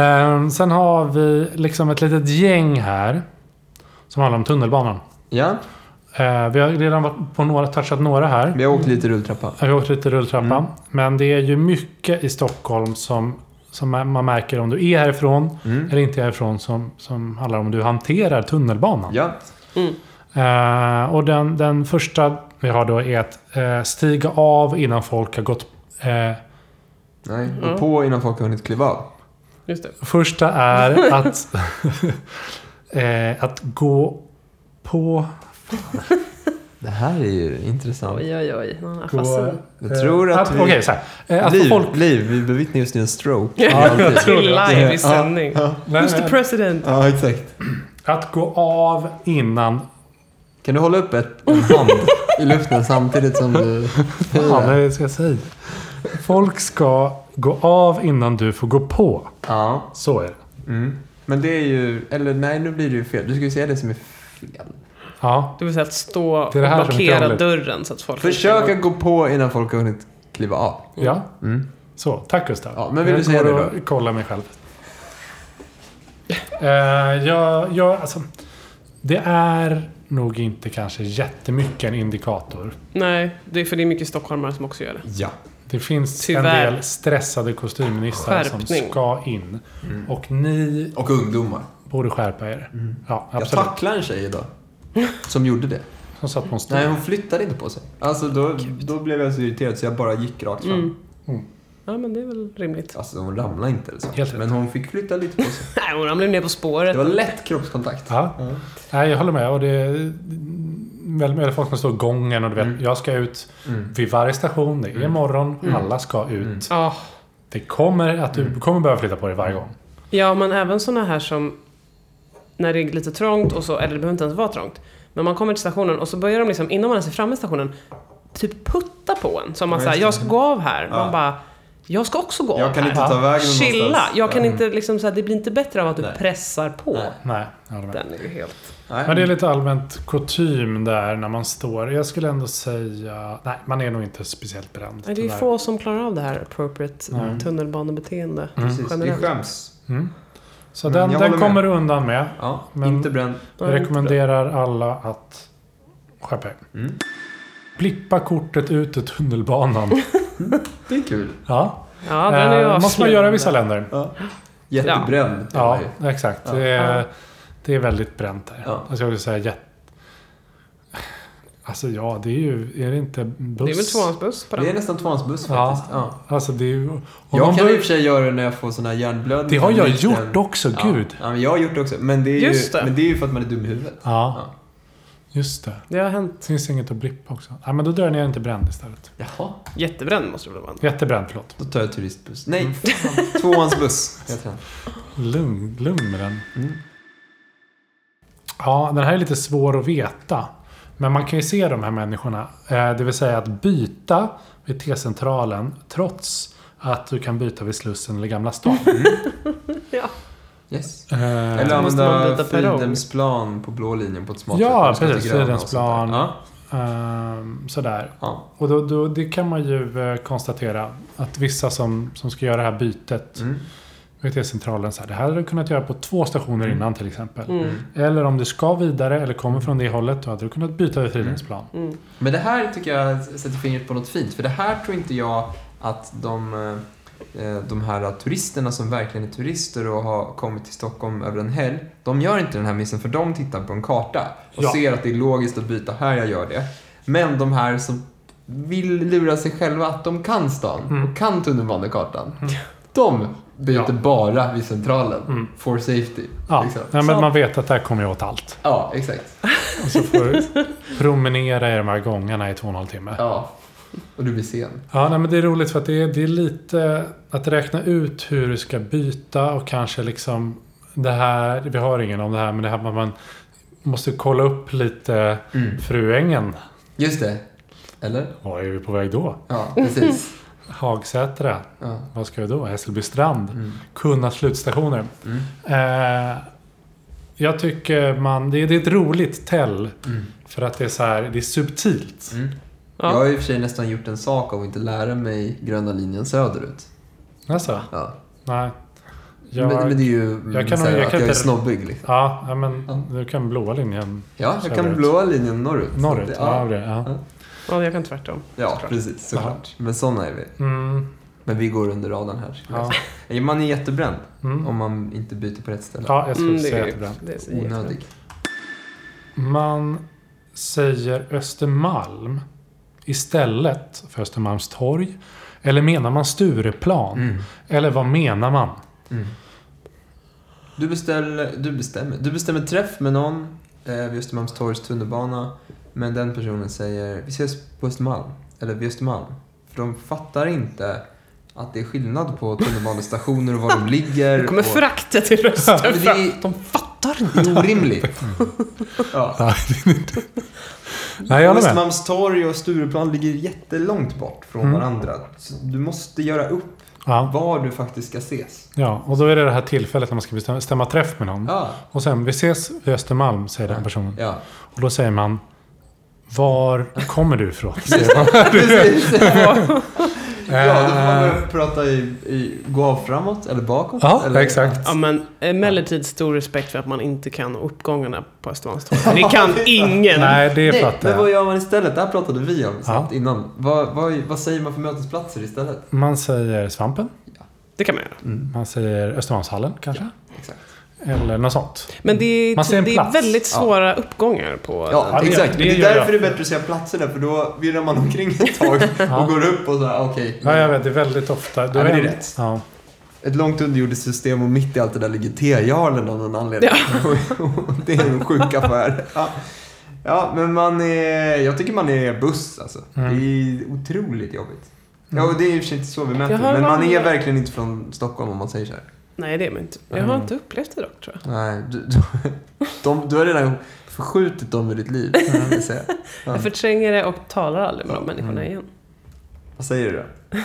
Speaker 2: Eh, Sen har vi liksom ett litet gäng här. Som handlar om tunnelbanan.
Speaker 3: Ja,
Speaker 2: Eh, Vi har redan varit på några, touchat några här.
Speaker 3: vi har åkt lite rulltrappa.
Speaker 2: Jag har åkt lite rulltrappa.
Speaker 3: Mm.
Speaker 2: Men det är ju mycket i Stockholm som, som man märker om du är härifrån
Speaker 3: Mm.
Speaker 2: eller inte härifrån som, som handlar om hur du hanterar tunnelbanan.
Speaker 3: Ja,
Speaker 1: Mm,
Speaker 2: Eh, och den, den första vi har då är att eh, stiga av innan folk har gått. Eh,
Speaker 3: nej. Och
Speaker 1: Ja.
Speaker 3: på innan folk har hunnit kliva av.
Speaker 1: just det.
Speaker 2: första är att, eh, att gå på...
Speaker 3: Det här är ju intressant.
Speaker 1: Oj, oj, oj. Han är
Speaker 2: på
Speaker 1: fasen.
Speaker 3: Jag tror
Speaker 2: eh,
Speaker 3: att vi...
Speaker 2: Okej, så här. Eh, att
Speaker 3: liv,
Speaker 2: folk...
Speaker 3: liv, vi bevittnar just nu en stroke.
Speaker 2: Ja, jag tror det.
Speaker 1: Live i
Speaker 3: Ja,
Speaker 1: sändning.
Speaker 3: ja.
Speaker 1: Who's the president?
Speaker 3: Ja, exakt.
Speaker 2: Att gå av innan...
Speaker 3: Kan du hålla upp ett, en hand i luften samtidigt som du...
Speaker 2: Fan, vad ska jag säga? Folk ska gå av innan du får gå på.
Speaker 3: Ja.
Speaker 2: Så är det.
Speaker 3: Mm. Men det är ju... Eller nej, nu blir det ju fel. Du ska ju säga det som är fel.
Speaker 2: Ja.
Speaker 1: Det vill säga att stå och
Speaker 2: Det är det här som är
Speaker 1: blockera
Speaker 2: krångligt.
Speaker 1: dörren så att folk
Speaker 3: Försök
Speaker 1: inte
Speaker 3: att gå på innan folk har hunnit kliva av.
Speaker 2: ja.
Speaker 3: Mm.
Speaker 2: Så, tack Gustav.
Speaker 3: Ja, men vill
Speaker 2: jag
Speaker 3: du säga
Speaker 2: går
Speaker 3: det
Speaker 2: och kollar mig själv. Eh, jag, jag, alltså, det är nog inte kanske jättemycket en indikator.
Speaker 1: Nej, det är för det är mycket stockholmare som också gör det.
Speaker 3: Ja.
Speaker 2: Det finns
Speaker 1: Tyvärr.
Speaker 2: en del stressade kostymnissar som
Speaker 1: Skärpning.
Speaker 2: ska in.
Speaker 3: Mm.
Speaker 2: Och ni
Speaker 3: Och ungdomar.
Speaker 2: borde skärpa er. Ja,
Speaker 3: Mm. Jag
Speaker 2: absolut.
Speaker 3: tacklade en tjej idag. Som gjorde det.
Speaker 2: Som satt på en stol.
Speaker 3: Nej, hon flyttade inte på sig. Alltså då, då blev jag så irriterad så jag bara gick rakt fram.
Speaker 1: Mm.
Speaker 2: Mm.
Speaker 1: Ja, men det är väl rimligt.
Speaker 3: Alltså hon ramlade inte eller så.
Speaker 2: Helt rätt.
Speaker 3: Men hon fick flytta lite på sig.
Speaker 1: Nej, hon ramlade ner på spåret.
Speaker 3: Det var lätt kroppskontakt.
Speaker 2: Ja. Nej, jag håller med. Och det är väldigt mycket folk som står gången och du vet,
Speaker 3: Mm.
Speaker 2: jag ska ut
Speaker 3: Mm.
Speaker 2: vid varje station. Det är
Speaker 3: Mm.
Speaker 2: imorgon.
Speaker 1: Mm.
Speaker 2: Alla ska ut.
Speaker 3: Mm.
Speaker 1: Ja,
Speaker 2: Det kommer att du
Speaker 3: Mm.
Speaker 2: kommer behöva flytta på dig varje gång.
Speaker 1: Ja, men även såna här som när det är lite trångt och så, eller det behöver inte ens vara trångt. Men man kommer till stationen och så börjar de liksom, innan man ens är framme i stationen, typ putta på en. Som man
Speaker 3: Ja,
Speaker 1: säger
Speaker 3: just det.
Speaker 1: jag ska gå av här.
Speaker 3: Ja.
Speaker 1: Man bara, Jag ska också gå
Speaker 3: Jag
Speaker 1: av
Speaker 3: kan
Speaker 1: här.
Speaker 3: inte
Speaker 2: Äh,
Speaker 3: ta vägen
Speaker 1: Chilla.
Speaker 3: någonstans.
Speaker 1: Jag kan
Speaker 3: Mm.
Speaker 1: inte liksom så här, det blir inte bättre av att du
Speaker 3: Nej.
Speaker 1: pressar på.
Speaker 3: Nej.
Speaker 2: Nej, jag håller med.
Speaker 1: Den är ju helt...
Speaker 3: Nej.
Speaker 2: Men det är lite allmänt kutym där när man står. Jag skulle ändå säga... Nej, man är nog inte speciellt bränd.
Speaker 1: Nej, Det är ju
Speaker 2: tyvärr.
Speaker 1: få som klarar av det här appropriate eh,
Speaker 2: Mm.
Speaker 1: tunnelbanebeteende.
Speaker 2: Mm.
Speaker 3: Precis, vi
Speaker 1: generellt.
Speaker 3: skäms.
Speaker 2: Mm. Så
Speaker 3: Mm, jag
Speaker 2: den, den
Speaker 3: håller med.
Speaker 2: kommer du undan med.
Speaker 3: Ja,
Speaker 2: Men-
Speaker 3: inte bränd.
Speaker 2: Jag rekommenderar alla att skärpa er.
Speaker 3: Mm.
Speaker 2: Blippa kortet ut ur tunnelbanan.
Speaker 3: Det är kul.
Speaker 2: Ja,
Speaker 1: Ja, den är ju
Speaker 2: eh, måste man
Speaker 1: avslöjande.
Speaker 2: göra i vissa länder.
Speaker 3: Jättebränd.
Speaker 2: Ja,
Speaker 3: Ja.
Speaker 2: exakt.
Speaker 3: Ja.
Speaker 2: Det,
Speaker 1: Ja.
Speaker 2: är, det är väldigt bränt där.
Speaker 3: Ja.
Speaker 2: Jag skulle säga jätte... Alltså ja, det är ju... Är det inte buss?
Speaker 1: Det är väl tvåhandsbuss på
Speaker 3: Det är
Speaker 1: den?
Speaker 3: nästan tvåhandsbuss
Speaker 2: Ja.
Speaker 3: faktiskt. Ja.
Speaker 2: Alltså det är ju... om man
Speaker 3: Jag kan i
Speaker 2: bör-
Speaker 3: och för sig göra det när jag får sån här hjärnblödning.
Speaker 2: Det har jag
Speaker 3: Liten-
Speaker 2: gjort också,
Speaker 3: Ja.
Speaker 2: gud.
Speaker 3: Ja, men jag har gjort det också. Men det, är ju,
Speaker 1: Just det.
Speaker 3: men det är ju för att man är dum i huvudet.
Speaker 2: Ja. Just det.
Speaker 1: Det har hänt.
Speaker 2: Finns inget att blippa också. Nej, men då drar jag ner den till bränd istället.
Speaker 3: Jaha.
Speaker 1: Jättebränd måste det väl vara?
Speaker 2: Jättebränd, förlåt.
Speaker 3: Då tar jag turistbuss.
Speaker 2: Mm.
Speaker 3: Nej, fan. tvåhandsbuss heter den.
Speaker 2: Lugn, lugn med den.
Speaker 3: Mm.
Speaker 2: Ja, den här är lite svår att veta. Men man kan ju se de här människorna. Eh, Det vill säga att byta vid T-centralen trots att du kan byta vid Slussen eller Gamla stan.
Speaker 1: Mm.
Speaker 3: Yes.
Speaker 2: Eh,
Speaker 3: Eller
Speaker 1: Då måste man
Speaker 3: använda
Speaker 1: byta perrong.
Speaker 3: Fridhemsplan på blå linjen på ett smart
Speaker 2: Ja,
Speaker 3: sätt. när man ska till
Speaker 2: precis,
Speaker 3: Gröna och
Speaker 2: Fridhemsplan.
Speaker 3: sånt där. Ja,
Speaker 2: ehm, sådär.
Speaker 3: ja.
Speaker 2: Och då, då, det kan man ju eh, konstatera att vissa som, som ska göra det här bytet
Speaker 3: Mm.
Speaker 2: vid T-centralen, så här, det här hade du kunnat göra på två stationer
Speaker 3: Mm.
Speaker 2: innan till exempel.
Speaker 1: Mm.
Speaker 2: Eller om du ska vidare eller kommer från det hållet, då hade du kunnat byta vid Fridhemsplan.
Speaker 1: Mm.
Speaker 3: Men det här tycker jag sätter fingret på något fint. För det här tror inte jag att de, eh, de här turisterna som verkligen är turister och har kommit till Stockholm över en helg. De gör inte den här missen för de tittar på en karta och
Speaker 2: Ja.
Speaker 3: ser att det är logiskt att byta här, jag gör det. Men de här som vill lura sig själva att de kan stan
Speaker 2: Mm.
Speaker 3: och kan tunnelbanekartan. De byter
Speaker 2: Ja.
Speaker 3: bara vid centralen.
Speaker 2: Mm.
Speaker 3: For safety.
Speaker 2: Ja,
Speaker 3: liksom.
Speaker 2: nej,
Speaker 1: Så-
Speaker 2: men man vet att där kommer jag åt allt.
Speaker 3: Ja, exakt.
Speaker 2: Och så får du promenera i de här gångarna i två och en halv timme. Ja,
Speaker 3: Ja. Och du blir sen.
Speaker 2: nej, men det är roligt för att det är, det är lite att räkna ut hur du ska byta och kanske liksom det här, vi har ingen om det här, men det här med att man måste kolla upp lite
Speaker 3: Mm.
Speaker 2: Fruängen.
Speaker 3: Just det. Eller?
Speaker 2: Var är vi på väg då?
Speaker 3: Ja, precis.
Speaker 2: Hagsätra.
Speaker 3: Ja.
Speaker 2: Vad ska vi då? Hässelby strand.
Speaker 3: Mm.
Speaker 2: Kunna slutstationer.
Speaker 3: Mm.
Speaker 2: Eh, jag tycker man, det, är- det är ett roligt tell. För att det är så här, det är subtilt.
Speaker 3: Mm. Jag
Speaker 1: Ja.
Speaker 3: har i och för sig nästan gjort en sak av att inte lära mig gröna linjen söderut.
Speaker 2: Alltså,
Speaker 3: Ja.
Speaker 2: nej. Jag,
Speaker 3: men, men det är ju mm,
Speaker 2: jag kan-
Speaker 3: så här
Speaker 2: jag
Speaker 3: att
Speaker 2: kan
Speaker 3: jag är
Speaker 2: inte-
Speaker 3: snobbig. Liksom.
Speaker 2: ja, ja, men
Speaker 3: Ja.
Speaker 2: du kan blåa linjen
Speaker 3: Ja, jag kan
Speaker 2: Söderut.
Speaker 3: blåa linjen norrut.
Speaker 2: norrut.
Speaker 3: Så att det-
Speaker 2: Ja,
Speaker 3: Ja,
Speaker 2: det, ja.
Speaker 1: ja, jag kan tvärtom.
Speaker 3: ja
Speaker 1: såklart.
Speaker 3: precis. Såklart. Men sådana är vi.
Speaker 2: Mm,
Speaker 3: Men vi går under radarn här. skulle jag
Speaker 2: ja.
Speaker 3: säga. Man är jättebränd
Speaker 2: Mm.
Speaker 3: om man inte byter på rätt ställe.
Speaker 2: ja, jag skulle
Speaker 1: Mm, det
Speaker 2: säga
Speaker 1: är,
Speaker 2: jättebra.
Speaker 1: det är så jättebra.
Speaker 3: Onödig.
Speaker 2: Man säger Östermalm istället för Östermalmstorg. Eller menar man Stureplan?
Speaker 3: Mm.
Speaker 2: Eller vad menar man?
Speaker 3: Mm. Du, beställer, du, bestämmer, du bestämmer träff med någon eh, vid Östermalmstorgs tunnelbana. Men den personen säger vi ses på Östermalm. Eller vid Östermalm. För de fattar inte att det är skillnad på tunnelbanestationer och var de ligger.
Speaker 1: Nu kommer
Speaker 3: och...
Speaker 1: frakta till rösten
Speaker 3: Men det
Speaker 1: fram.
Speaker 3: är-
Speaker 1: De fattar
Speaker 3: Det är orimligt. Ja.
Speaker 2: Nej, jag
Speaker 3: Och
Speaker 2: håller med.
Speaker 3: Östermalmstorg och Stureplan ligger jättelångt bort från
Speaker 2: Mm.
Speaker 3: varandra. Så du måste göra upp
Speaker 2: Ja.
Speaker 3: var du faktiskt ska ses.
Speaker 2: ja, och då är det det här tillfället när man ska bestämma stämma träff med någon.
Speaker 3: Ja.
Speaker 2: Och sen, vi ses vid Östermalm, säger den personen.
Speaker 3: ja.
Speaker 2: Och då säger man, var kommer du ifrån?
Speaker 3: Precis. Ja, då får man
Speaker 2: Eh,
Speaker 3: börja prata i, i gå av framåt eller bakåt.
Speaker 2: Ja,
Speaker 3: eller,
Speaker 2: exakt.
Speaker 1: Ja, men emellertid stor respekt för att man inte kan uppgångarna på Östermalmstorg. Det kan ingen.
Speaker 2: Nej, det
Speaker 3: Nej,
Speaker 2: fattar
Speaker 3: men vad
Speaker 2: jag.
Speaker 3: gör man istället? Det här pratade vi om snabbt innan. Vad, vad, vad säger man för mötesplatser istället?
Speaker 2: Man säger Svampen.
Speaker 1: Det kan man göra.
Speaker 2: Man säger Östermalmshallen kanske.
Speaker 3: Exakt.
Speaker 2: Eller något sånt.
Speaker 1: Men det
Speaker 2: Man ser
Speaker 1: är,
Speaker 2: en
Speaker 1: det är
Speaker 2: plats.
Speaker 1: väldigt svåra uppgångar på...
Speaker 3: Ja,
Speaker 2: det-
Speaker 3: exakt.
Speaker 2: det
Speaker 3: Det, det är
Speaker 2: gör jag.
Speaker 3: därför det är bättre att säga platser där, för då virrar man omkring ett tag
Speaker 2: Ja.
Speaker 3: och går upp och så här, okej.
Speaker 2: Ja, jag vet. Det är väldigt ofta.
Speaker 3: Ja, men det är
Speaker 2: en-
Speaker 3: rätt.
Speaker 2: Ja.
Speaker 3: Ett långt underjordiskt system och mitt i allt det där ligger tejarlen av någon anledning. Och det är en sjuk affär. Ja. ja, men man är, jag tycker man är buss alltså.
Speaker 2: Mm.
Speaker 3: Det är otroligt jobbigt. Ja, och det är i och för sig inte så vi mäter
Speaker 1: Jag har
Speaker 3: men man
Speaker 1: vanlig-
Speaker 3: är verkligen inte från Stockholm om man säger så här.
Speaker 1: Nej, det är man inte. Jag
Speaker 2: Mm.
Speaker 1: har inte upplevt det dock, tror jag.
Speaker 3: Nej, du, du, de, du har redan förskjutit dem i ditt liv. kan jag säga.
Speaker 1: Jag
Speaker 2: Mm.
Speaker 1: förtränger det och talar aldrig med de människorna igen.
Speaker 3: Vad säger du då?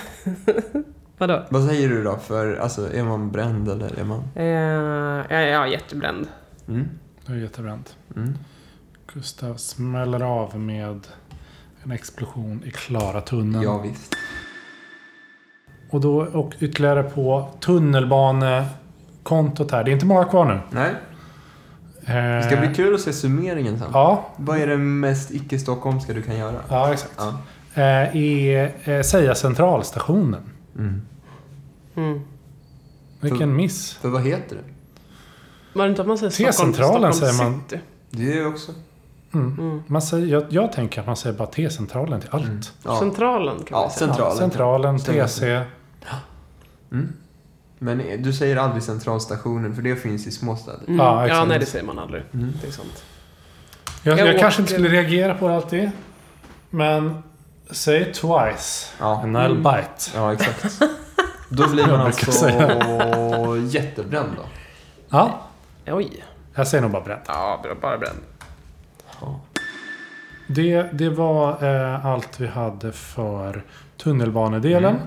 Speaker 1: Vadå?
Speaker 3: Vad säger du då? För, alltså, är man bränd eller är man...
Speaker 1: Eh, ja, ja, jättebränd.
Speaker 3: Mm.
Speaker 2: Det är jättebränt.
Speaker 3: Mm.
Speaker 2: Gustav smäller av med en explosion i Klaratunneln.
Speaker 3: Ja, visst.
Speaker 2: Och då och ytterligare på tunnelbanekontot här. Det är inte många kvar nu.
Speaker 3: Nej, det
Speaker 2: Eh,
Speaker 3: ska bli kul att se summeringen sen.
Speaker 2: Ja,
Speaker 3: Vad är det mest icke-stockholmska du kan göra?
Speaker 2: ja exakt.
Speaker 3: Ja.
Speaker 2: Eh, I eh, Säga centralstationen.
Speaker 3: Mm.
Speaker 1: Mm.
Speaker 2: Vilken miss.
Speaker 3: För vad heter det?
Speaker 1: Var det inte att man säger Stockholm,
Speaker 2: T-centralen
Speaker 1: Stockholm
Speaker 2: säger man.
Speaker 1: City?
Speaker 3: Det är också...
Speaker 2: Mm.
Speaker 1: Mm.
Speaker 2: Man säger, jag, jag tänker att man säger bara T-centralen till allt.
Speaker 3: Ja.
Speaker 1: Centralen kan
Speaker 3: Mm. Ja,
Speaker 1: man säga.
Speaker 3: centralen.
Speaker 2: Ja, centralen,
Speaker 3: Stämmer.
Speaker 2: TC.
Speaker 3: Mm. Men du säger aldrig centralstationen, för det finns i småstäder.
Speaker 1: Mm.
Speaker 2: Ja,
Speaker 1: Ja,
Speaker 2: exakt.
Speaker 1: nej det säger man aldrig.
Speaker 3: Mm.
Speaker 1: Det är sant.
Speaker 2: Jag,
Speaker 1: Jag
Speaker 2: jag,
Speaker 1: åker-
Speaker 2: kanske inte skulle reagera på det alltid. Men säg twice.
Speaker 3: Ja.
Speaker 2: And I'll
Speaker 1: Mm.
Speaker 2: bite.
Speaker 3: ja, exakt. Då blir
Speaker 2: Jag
Speaker 3: man
Speaker 2: brukar
Speaker 3: alltså jättebränd då.
Speaker 2: Ja,
Speaker 1: Oj.
Speaker 2: jag säger nog bara bränt.
Speaker 1: Ja, bra- bara bränd.
Speaker 2: Det, det var eh, allt vi hade för tunnelbanedelen.
Speaker 3: Mm.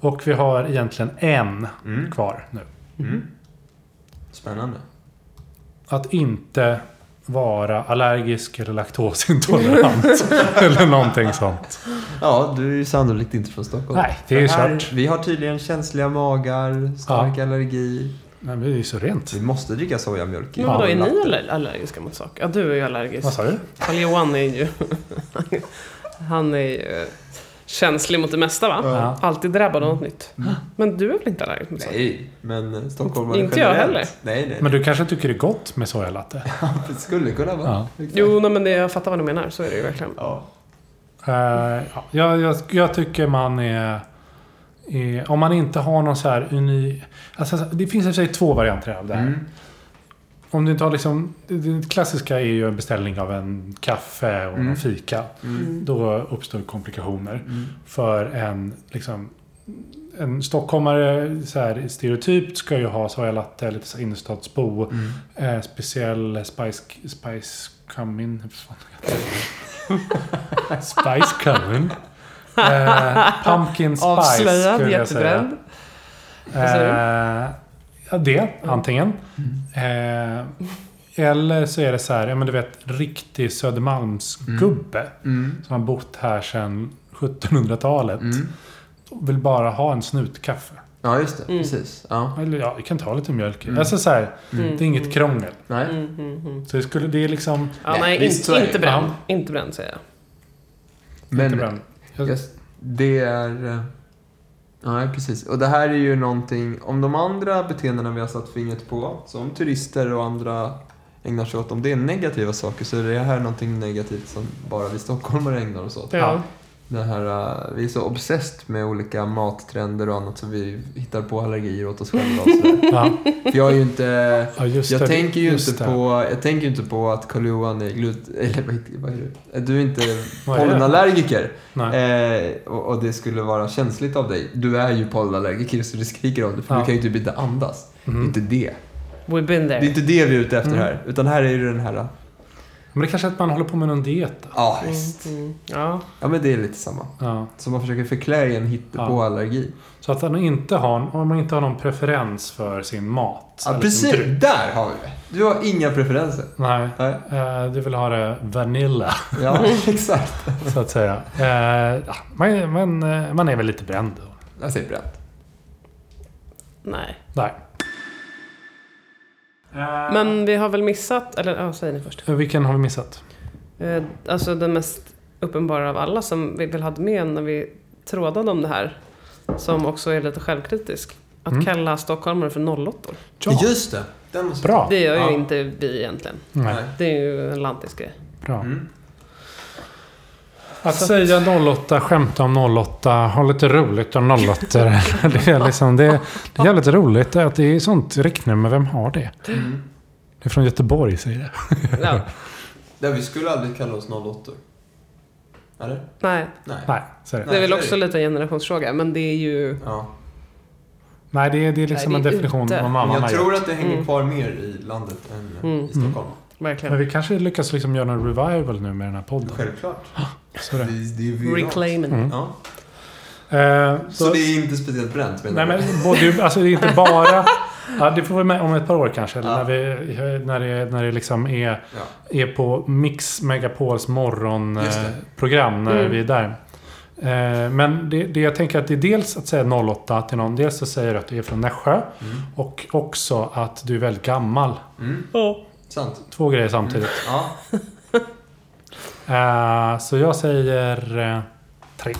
Speaker 2: Och vi har egentligen en
Speaker 3: Mm.
Speaker 2: kvar nu.
Speaker 3: Mm. Spännande.
Speaker 2: Att inte vara allergisk eller laktosintolerant. eller någonting sånt.
Speaker 3: Ja, du är ju sannolikt inte från Stockholm.
Speaker 2: Nej, det är ju
Speaker 3: Här-
Speaker 2: kört.
Speaker 3: Vi har tydligen känsliga magar, stark allergi.
Speaker 2: Nej, men det är ju så rent.
Speaker 3: Vi måste dricka sojamjölk. i
Speaker 1: Men vadå, är
Speaker 3: latte.
Speaker 1: ni aller- allergiska mot saker? Ja, du är ju allergisk.
Speaker 2: Vad sa du?
Speaker 1: Karl-Johan är ju... han är ju känslig mot det mesta va?
Speaker 2: Ja. Mm.
Speaker 1: Alltid drabbad av något nytt. Men du är väl inte allergisk mot saker?
Speaker 3: Nej, men eh, stockholmare
Speaker 1: Inte jag
Speaker 3: generellt.
Speaker 1: heller.
Speaker 3: Nej, nej.
Speaker 2: Men du kanske tycker det är gott med sojalatte?
Speaker 3: Det skulle kunna vara.
Speaker 2: Ja.
Speaker 3: Exakt.
Speaker 1: Jo, nej, men det, jag fattar vad du menar. Så är det ju verkligen.
Speaker 3: Ja.
Speaker 2: Eh, ja, jag, jag, jag tycker man är, är... Om man inte har någon så här unik... Alltså, det finns i och för sig två varianter av det här.
Speaker 3: Mm.
Speaker 2: Om du inte har liksom... Det det klassiska är ju en beställning av en kaffe och
Speaker 3: Mm.
Speaker 2: någon fika.
Speaker 3: Mm.
Speaker 2: Då uppstår komplikationer.
Speaker 3: Mm.
Speaker 2: För en liksom... En stockholmare så här, stereotypt ska ju ha sojalatte, lite så här innerstadsbo.
Speaker 3: Mm.
Speaker 2: Eh, speciell Spice... Spice Cumin. vad fan heter det? spice Cumin. Eh, pumpkin Spice
Speaker 1: Avslöjad,
Speaker 2: skulle jag
Speaker 1: jättebränd.
Speaker 2: säga. Eh, ja, det antingen. Eh, eller så är det så här, ja men du vet, riktig Södermalmsgubbe.
Speaker 3: Mm.
Speaker 2: Som har bott här sedan 1700-talet.
Speaker 3: Mm.
Speaker 2: Och vill bara ha en snutkaffe.
Speaker 3: Ja, just det.
Speaker 1: Mm.
Speaker 3: Precis. Ja.
Speaker 2: Eller ja, vi kan ta lite mjölk i.
Speaker 3: Mm.
Speaker 2: Alltså så här,
Speaker 1: Mm.
Speaker 2: det är inget krångel.
Speaker 3: Nej.
Speaker 1: Mm, mm, mm.
Speaker 2: Så det, skulle, det är liksom...
Speaker 1: Ja,
Speaker 3: Nej,
Speaker 1: nej,
Speaker 3: visst, så är
Speaker 1: inte,
Speaker 3: det.
Speaker 1: inte bränd.
Speaker 2: Ja.
Speaker 1: Inte bränd säger jag.
Speaker 3: Men
Speaker 2: inte bränd. Jag-
Speaker 3: just, det är... eh, Ja, precis. Och det här är ju någonting... Om de andra beteendena vi har satt fingret på, som turister och andra ägnar sig åt, om det är negativa saker så är det här någonting negativt som bara vi stockholmare ägnar oss åt.
Speaker 2: Ja.
Speaker 1: Ja.
Speaker 3: Det här, eh, vi är så obsessed med olika mattrender och annat så vi hittar på allergier åt oss själva. Och sådär.
Speaker 2: Ja,
Speaker 3: För jag är ju inte...
Speaker 2: ja just
Speaker 3: Jag
Speaker 2: det.
Speaker 3: tänker, ju
Speaker 2: just
Speaker 3: inte
Speaker 2: det.
Speaker 3: på, jag tänker ju inte på att karl johan är glut... Eller vad heter- vad är du? Du är inte
Speaker 2: Vad är det?
Speaker 3: pollenallergiker.
Speaker 2: Nej.
Speaker 3: Eh, och, och det skulle vara känsligt av dig. Du är ju pollenallergiker så du skriker av det för
Speaker 2: Ja.
Speaker 3: du kan ju typ inte andas. Det är
Speaker 2: Mm.
Speaker 3: inte det.
Speaker 1: We've been
Speaker 3: Det är
Speaker 1: there.
Speaker 3: inte det vi är ute efter
Speaker 2: Mm.
Speaker 3: här. Utan här är ju den här...
Speaker 2: Men det kanske är att man håller på med någon diet. då.
Speaker 3: Ja,
Speaker 1: Mm,
Speaker 3: visst.
Speaker 1: mm. Ja.
Speaker 3: Ja, men det är lite samma.
Speaker 2: Ja.
Speaker 3: Så man försöker förklä i en hittepå-allergi.
Speaker 2: Så att man inte har, om man inte har någon preferens för sin mat.
Speaker 3: Ja,
Speaker 2: eller
Speaker 3: precis.
Speaker 2: Sin dryck.
Speaker 3: Där har vi det. Du har inga preferenser.
Speaker 2: Nej.
Speaker 3: Nej.
Speaker 2: Eh, Du vill ha det vanilla,
Speaker 3: Ja, exakt.
Speaker 2: så att säga. Eh, ja, Man, man, eh, man är väl lite bränd. då.
Speaker 3: Jag säger bränt.
Speaker 1: Nej.
Speaker 2: Nej.
Speaker 1: Men vi har väl missat, eller ja, säger ni först.
Speaker 2: Eh, Vilken har vi missat?
Speaker 1: Eh, Alltså den mest uppenbara av alla som vi väl hade med när vi trådade om det här. Som också är lite självkritisk. Att
Speaker 2: Mm.
Speaker 1: kalla stockholmare för nollåttor.
Speaker 3: Just det. Den måste...
Speaker 2: Bra.
Speaker 1: Det gör ju
Speaker 3: Ja.
Speaker 1: inte vi egentligen.
Speaker 2: Nej,
Speaker 3: Nej.
Speaker 1: Det är ju en lantisk grej.
Speaker 2: bra.
Speaker 3: Mm.
Speaker 2: Att säga 08, skämta om 08, ha lite roligt om 08. det, är liksom, det, det är jävligt roligt att det är sånt riktnummer. Vem har det?
Speaker 3: Mm.
Speaker 2: Det är från Göteborg, säger det.
Speaker 1: Ja.
Speaker 3: Nej, vi skulle aldrig kalla oss 08. Eller?
Speaker 1: Nej,
Speaker 3: Nej.
Speaker 2: Nej, så är det.
Speaker 1: det är väl
Speaker 3: det är
Speaker 1: också
Speaker 3: det.
Speaker 1: lite en generationsfråga. Men det är ju...
Speaker 3: Ja.
Speaker 2: Nej, det är, det är liksom
Speaker 1: Nej, det är
Speaker 2: en definition
Speaker 1: ute.
Speaker 2: vad
Speaker 3: Men
Speaker 2: mamman
Speaker 3: jag
Speaker 2: har
Speaker 3: tror
Speaker 2: gjort.
Speaker 3: att det hänger
Speaker 1: Mm.
Speaker 3: kvar mer i landet än eh,
Speaker 1: Mm.
Speaker 3: i Stockholm.
Speaker 1: Verkligen.
Speaker 2: Men vi kanske lyckas liksom göra en revival nu med den här podden.
Speaker 3: Självklart.
Speaker 2: Så
Speaker 3: Det,
Speaker 2: det.
Speaker 3: det är ju viralt.
Speaker 1: Reclaiming.
Speaker 2: Mm.
Speaker 3: Ja.
Speaker 2: Eh,
Speaker 3: Så, det är inte speciellt bränt menar
Speaker 2: Nej men
Speaker 3: du?
Speaker 2: både, alltså det är inte bara... Ja, det får vi med om ett par år kanske. eller När, vi, när, det, när det liksom är, är på Mix Megapols
Speaker 3: Just det.
Speaker 2: morgonprogram när
Speaker 1: Mm.
Speaker 2: vi är där. Eh, Men det, det jag tänker att det är dels att säga 08 till någon. Dels så säger du att du är från Nässjö. Och också att du är väldigt gammal.
Speaker 3: Mm,
Speaker 1: Ja.
Speaker 3: sant.
Speaker 2: Två grejer samtidigt.
Speaker 3: Ja. Mm.
Speaker 2: Eh, Så jag säger eh, tre.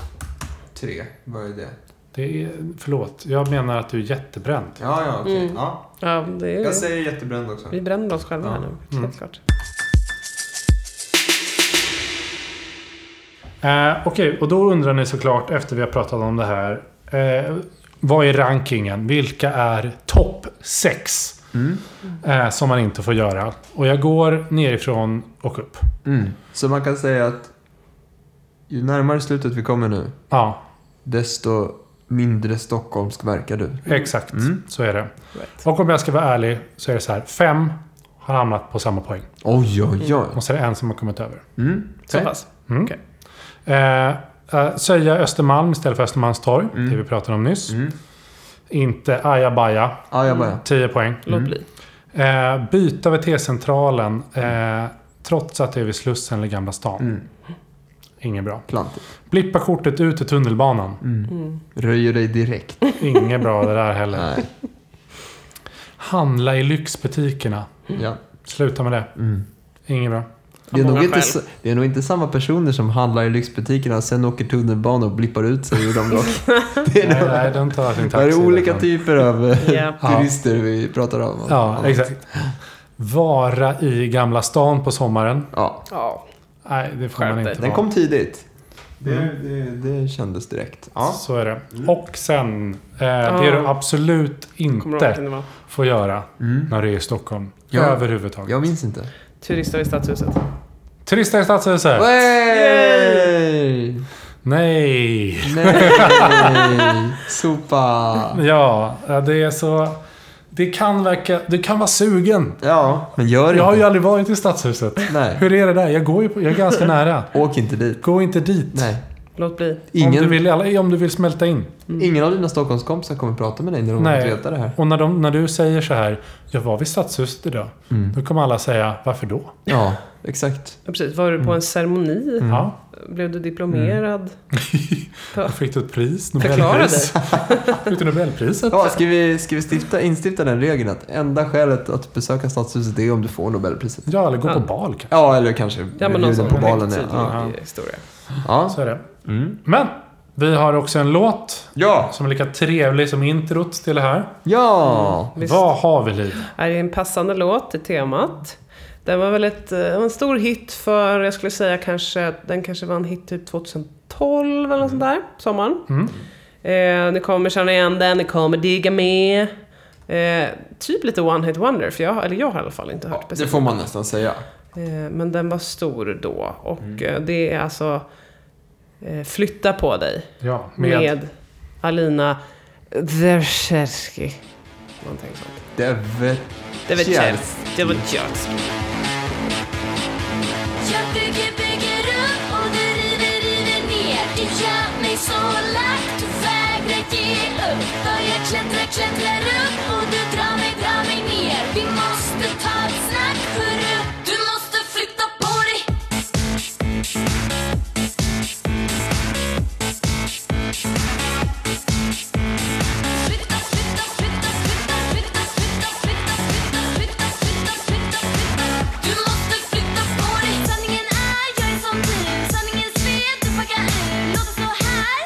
Speaker 3: Tre, vad är det?
Speaker 2: Det är, förlåt, jag menar att du är jättebränd.
Speaker 3: Ja, ja, okej.
Speaker 1: Mm.
Speaker 3: Ja.
Speaker 1: ja, det är
Speaker 3: Jag säger jättebränd också.
Speaker 1: Vi bränner oss själva här nu, helt
Speaker 2: Mm.
Speaker 1: klart.
Speaker 2: Eh, Okej, och då undrar ni såklart efter vi har pratat om det här. Eh, vad är rankingen? Vilka är topp 6?
Speaker 3: Mm.
Speaker 2: Eh, som man inte får göra. Och jag går nerifrån och upp.
Speaker 3: Mm. Så man kan säga att ju närmare slutet vi kommer nu,
Speaker 2: Ja,
Speaker 3: desto mindre stockholmsk verkar du.
Speaker 2: exakt.
Speaker 3: Mm.
Speaker 2: Så är det. Och om jag ska vara ärlig så är det så här. Fem har hamnat på samma poäng.
Speaker 3: Oj, oj, oj.
Speaker 2: Och så är det en som har kommit över.
Speaker 3: Mm.
Speaker 1: Så pass.
Speaker 2: Mm.
Speaker 1: Okej.
Speaker 2: Eh, eh, Söja Östermalm istället för Östermalmstorg. Det vi pratade om nyss.
Speaker 3: Mm.
Speaker 2: Inte ajabaja.
Speaker 3: Ajabaja.
Speaker 2: 10 poäng.
Speaker 1: Låt bli.
Speaker 2: Eh, byta VT-centralen eh, trots att det är vid Slussen eller Gamla stan.
Speaker 3: Mm.
Speaker 2: Inget bra.
Speaker 3: Klantigt.
Speaker 2: Blippa kortet ut i tunnelbanan.
Speaker 1: Mm.
Speaker 3: Röjer dig direkt.
Speaker 2: Inget bra det där heller.
Speaker 3: Nej.
Speaker 2: Handla i lyxbutikerna.
Speaker 3: Ja.
Speaker 2: Sluta med det.
Speaker 3: Mm.
Speaker 2: Inget bra.
Speaker 3: Det är,
Speaker 1: många
Speaker 3: nog inte,
Speaker 1: skäl.
Speaker 3: s- det är nog inte samma personer som handlar i lyxbutikerna, sen åker tunnelbana och blippar ut sig ur dem dock. Det
Speaker 2: Nej,
Speaker 3: är, nog,
Speaker 2: nej, den tar sin
Speaker 3: det är
Speaker 2: taxi
Speaker 3: olika
Speaker 2: därifrån.
Speaker 3: typer av eh,
Speaker 1: Ja.
Speaker 3: turister vi pratar om.
Speaker 2: Ja, exakt. Vara i Gamla stan på sommaren.
Speaker 3: Ja.
Speaker 1: Ja.
Speaker 2: Nej, det får
Speaker 1: Skärp
Speaker 2: man
Speaker 1: dig.
Speaker 2: inte
Speaker 3: Den
Speaker 2: vara.
Speaker 3: kom tidigt. Det, det, det kändes direkt. Ja.
Speaker 2: Så är det. Och sen, eh, det du absolut
Speaker 1: Kommer du ihåg
Speaker 2: inte
Speaker 1: vilken det var?
Speaker 2: får göra
Speaker 3: Mm.
Speaker 2: när du är i Stockholm.
Speaker 3: Ja.
Speaker 2: Överhuvudtaget.
Speaker 3: Jag minns inte.
Speaker 1: Turister i stadshuset.
Speaker 2: Turister i stadshuset.
Speaker 3: Yay!
Speaker 2: Nej.
Speaker 3: Nej! Sopa!
Speaker 2: Ja, det är så... Det kan verka... Du kan vara sugen.
Speaker 3: Ja, men gör
Speaker 2: Jag har ju
Speaker 3: inte.
Speaker 2: aldrig varit i Stadshuset.
Speaker 3: Nej,
Speaker 2: Hur är det där? Jag går ju på, Jag är ganska nära.
Speaker 3: åk inte dit.
Speaker 2: Gå inte dit.
Speaker 3: Nej.
Speaker 1: Låt bli.
Speaker 2: Om, du
Speaker 3: Ingen,
Speaker 2: vill, alla- om du vill smälta in.
Speaker 1: Mm.
Speaker 3: ingen av dina Stockholmskompisar kommer prata med dig när de har
Speaker 2: Nej.
Speaker 3: fått veta det här.
Speaker 2: Och när, de, när du säger så här, jag var vid Stadshuset idag.
Speaker 3: Mm.
Speaker 2: Då kommer alla säga, varför då?
Speaker 3: Ja, exakt.
Speaker 1: Ja, precis. Var du på en ceremoni?
Speaker 3: Mm.
Speaker 2: Ja,
Speaker 1: Blev du diplomerad?
Speaker 2: Mm. jag fick du ett pris?
Speaker 1: Förklara dig.
Speaker 2: Nobelpris. Fick du Nobelpriset?
Speaker 3: Ja, ska vi, ska vi stifta, instifta den regeln att enda skälet att besöka Stadshuset är om du får Nobelpriset?
Speaker 2: Ja, eller gå på
Speaker 1: Ja.
Speaker 2: bal kanske.
Speaker 3: Ja, eller kanske
Speaker 1: Ja, men någon
Speaker 3: bjuden
Speaker 1: sån
Speaker 3: på balen.
Speaker 1: högtidlig
Speaker 3: Ja.
Speaker 1: historia.
Speaker 3: Ja.
Speaker 2: Så är det.
Speaker 3: Mm.
Speaker 2: Men, vi har också en låt
Speaker 3: Ja.
Speaker 2: som är lika trevlig som introt till det här.
Speaker 3: ja!
Speaker 1: Visst.
Speaker 2: Vad har vi, Liv?
Speaker 1: Här är en passande låt till temat. Den var väl ett, eh, en stor hit för, jag skulle säga kanske, den kanske var en hit typ 2012 eller något sånt där, sommaren.
Speaker 2: Mm.
Speaker 1: Eh, ni kommer känna igen den, ni kommer digga med. Eh, typ lite One Hit Wonder, för jag, har- eller jag har i alla fall inte hört
Speaker 3: Det
Speaker 1: speciellt.
Speaker 3: får man nästan säga.
Speaker 1: Eh, men den var stor då och
Speaker 3: Mm.
Speaker 1: eh, det är alltså eh, Flytta på dig
Speaker 2: Ja,
Speaker 1: med,
Speaker 2: med
Speaker 1: Alina Dzerzjewski. Någonting sånt.
Speaker 3: Det är väl-
Speaker 1: Det var
Speaker 3: Cheers.
Speaker 1: Chelsea. Det var Chelsea.
Speaker 5: Jag bygger, bygger upp och du river, river ner Det gör mig så lack, du vägrar ge upp Börjar klättra, klättrar upp och du drar mig, drar mig ner Vi måste ta ett snack, hörru Du måste flytta på dig Flytta, flytta, flytta, flytta, flytta, flytta, flytta, flytta, flytta, flytta, flytta, flytta. Du måste flytta på dig. Sanningen är, jag är som du. Sanningen sved, du backar ur. Låt oss stå här.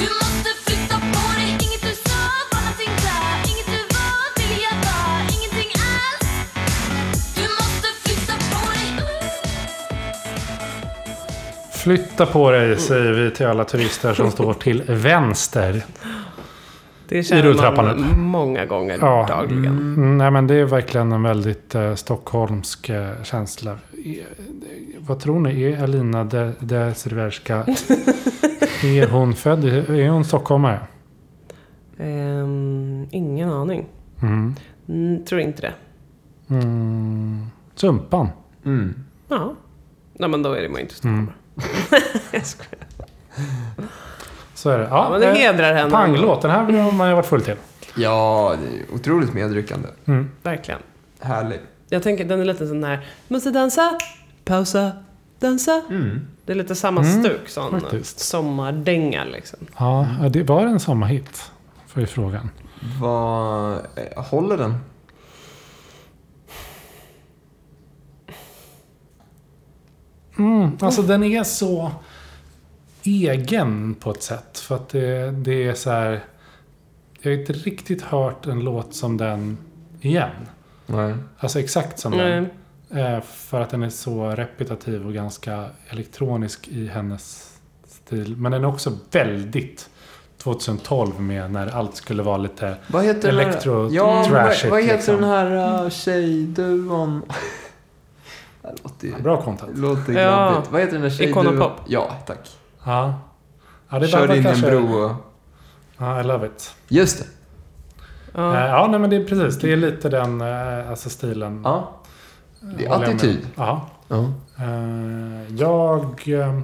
Speaker 5: Du måste flytta på dig. Inget du sa var allting där. Inget du var ville jag vara. Ingenting alls. Du måste flytta på dig.
Speaker 2: Flytta på dig, säger vi till alla turister som står till vänster.
Speaker 1: Det
Speaker 2: I
Speaker 1: känner
Speaker 2: rulltrappan upp.
Speaker 1: man många gånger
Speaker 2: Ja.
Speaker 1: dagligen.
Speaker 2: Mm, nej, men det är verkligen en väldigt eh, stockholmsk eh, känsla. E, vad tror ni? Är Alina de, de Silverska... är hon född? i- Är hon stockholmare?
Speaker 1: Ehm, ingen aning.
Speaker 2: Mm.
Speaker 1: Mm, tror inte det.
Speaker 2: Mm. Sumpan.
Speaker 3: Mm.
Speaker 1: Ja. Nej men då är det man inte
Speaker 2: Mm.
Speaker 1: stockholmare.
Speaker 2: Så Så är det. Ja,
Speaker 1: Ja, men det
Speaker 2: eh,
Speaker 1: hedrar henne.
Speaker 2: Panglåt, den här har man ju varit full till.
Speaker 3: Ja, det är otroligt medryckande.
Speaker 2: Mm.
Speaker 1: Verkligen.
Speaker 3: Härlig.
Speaker 1: Jag tänker, den är lite sån här, måste dansa, pausa, dansa. Det är lite samma
Speaker 2: Mm,
Speaker 1: stuk, sån
Speaker 2: faktiskt.
Speaker 1: sommardänga liksom.
Speaker 2: Ja, det var det en sommarhit? För i frågan.
Speaker 3: Vad... eh, Håller den?
Speaker 2: Mm, alltså den är så egen på ett sätt. För att det, det är så här... Jag har inte riktigt hört en låt som den igen.
Speaker 3: Nej.
Speaker 2: Alltså exakt som
Speaker 1: Mm.
Speaker 2: den. Eh, För att den är så repetitiv och ganska elektronisk i hennes stil. Men den är också väldigt 2012 med när allt skulle vara lite...
Speaker 3: Vad heter
Speaker 2: Electro-
Speaker 3: den här... Ja, men
Speaker 2: trashigt,
Speaker 3: vad, vad heter
Speaker 2: liksom.
Speaker 3: den här uh, tjejduon? det låter ju...
Speaker 2: Bra content.
Speaker 3: Låter
Speaker 1: Ja.
Speaker 3: ja. Vad heter den här tjejduon?
Speaker 1: Iconopop.
Speaker 3: Ja, tack.
Speaker 2: Ja. ja det
Speaker 3: Kör
Speaker 2: var
Speaker 3: in en
Speaker 2: kanske-
Speaker 3: bro och...
Speaker 2: Ja, I love it.
Speaker 3: Just det.
Speaker 1: Ja.
Speaker 2: Eh, Ja, nej, men det är precis. Det är lite den eh, alltså stilen.
Speaker 3: Ja. Det är
Speaker 2: Håller jag med.
Speaker 3: attityd.
Speaker 2: Ja.
Speaker 3: Ja.
Speaker 2: Eh, Jag, eh,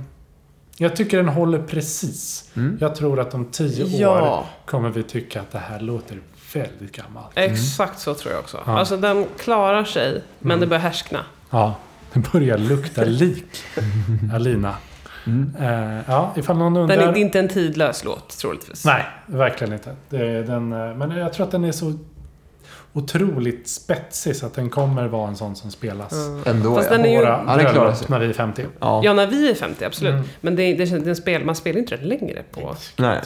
Speaker 2: jag tycker den håller precis.
Speaker 3: Mm.
Speaker 2: Jag tror att om tio år
Speaker 1: Ja,
Speaker 2: kommer vi tycka att det här låter väldigt gammalt.
Speaker 1: exakt så tror jag också.
Speaker 2: Mm. Ja. Mm.
Speaker 1: Alltså den klarar sig, men det börjar härskna.
Speaker 2: Ja, det börjar lukta lik Alina.
Speaker 3: Mm.
Speaker 2: Eh, Ja, ifall någon
Speaker 1: Den är,
Speaker 2: undrar.
Speaker 1: det är inte en tidlös låt, troligtvis.
Speaker 2: Nej, verkligen inte. Det är den, eh, men jag tror att den är så otroligt spetsig så att den kommer vara en sån som spelas.
Speaker 3: Ändå
Speaker 1: Fast
Speaker 3: ja.
Speaker 1: Mm. den är ju-
Speaker 2: Våra
Speaker 3: Ja, den klarar
Speaker 2: bröllop
Speaker 3: sig.
Speaker 2: när vi är 50.
Speaker 3: Ja.
Speaker 1: Ja, när vi är 50, absolut.
Speaker 2: Mm.
Speaker 1: Men det, det, känns- den spel, man spelar inte den längre på.
Speaker 3: Nej.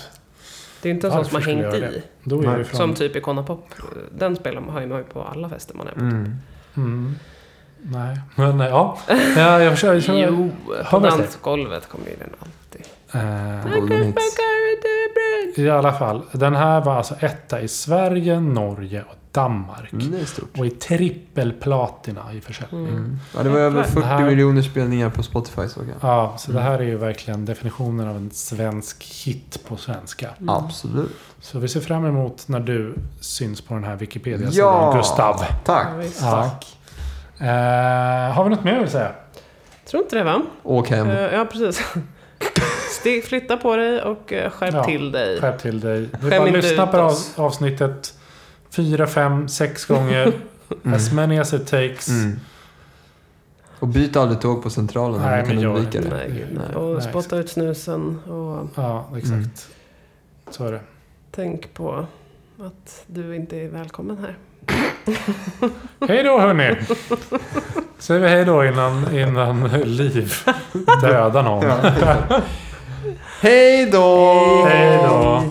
Speaker 1: Det är inte en sån som
Speaker 2: Varför
Speaker 1: har
Speaker 2: skulle
Speaker 1: hängt
Speaker 2: jag göra
Speaker 1: i.
Speaker 2: Då är
Speaker 3: Nej.
Speaker 2: vi från...
Speaker 1: Som typ Iconopop. Den spelar man, har ju man ju på alla fester man är på.
Speaker 3: Mm.
Speaker 2: Mm. Nej, men eh, ja. ja jag försöker, jag försöker.
Speaker 1: Jo, på
Speaker 2: Har man släppt?
Speaker 1: dansgolvet kommer ju den alltid.
Speaker 2: Eh,
Speaker 3: Golden
Speaker 1: I
Speaker 3: Hits.
Speaker 1: carry the bridge.
Speaker 2: I alla fall, den här var alltså etta i Sverige, Norge och Danmark.
Speaker 3: Mm, det är stort.
Speaker 2: Och i trippelplatina i försäljning.
Speaker 3: Mm. Ja, det var över
Speaker 1: Jäklar.
Speaker 3: 40
Speaker 2: Det här-
Speaker 3: miljoner spelningar på Spotify såg jag.
Speaker 2: Ja, så det här är ju verkligen definitionen av en svensk hit på svenska.
Speaker 1: Mm.
Speaker 3: Absolut.
Speaker 2: Så vi ser fram emot när du syns på den här Wikipedia-sidan,
Speaker 3: Ja!
Speaker 2: Gustav.
Speaker 1: Ja,
Speaker 3: Tack.
Speaker 1: visst.
Speaker 2: Tack. Eh, har vi något mer jag vill säga?
Speaker 1: Tror inte det va?
Speaker 3: Åk hem.
Speaker 1: Eh, Ja, precis. Ste- Flytta på dig och eh, skärp
Speaker 2: Ja,
Speaker 1: till dig.
Speaker 2: Skärp till dig. Det
Speaker 1: Skäm
Speaker 2: är bara att
Speaker 1: inte
Speaker 2: lyssna
Speaker 1: ut
Speaker 2: på det här
Speaker 1: oss.
Speaker 2: avsnittet fyra, fem, sex gånger. As many as it takes.
Speaker 3: Mm. Och byt aldrig tåg på Centralen om
Speaker 2: Nej,
Speaker 3: du kan
Speaker 2: men gör
Speaker 3: undvika det.
Speaker 1: Nej, gud, nej.
Speaker 2: Nej,
Speaker 1: Och
Speaker 2: nej,
Speaker 1: spotta ut snusen och
Speaker 2: Ja, exakt.
Speaker 3: Mm.
Speaker 2: Så är det.
Speaker 1: tänk på att du inte är välkommen här.
Speaker 2: Hej då hörni! Säger vi hej då innan, innan Liv dödar någon.
Speaker 3: Hej då!
Speaker 2: Hej då!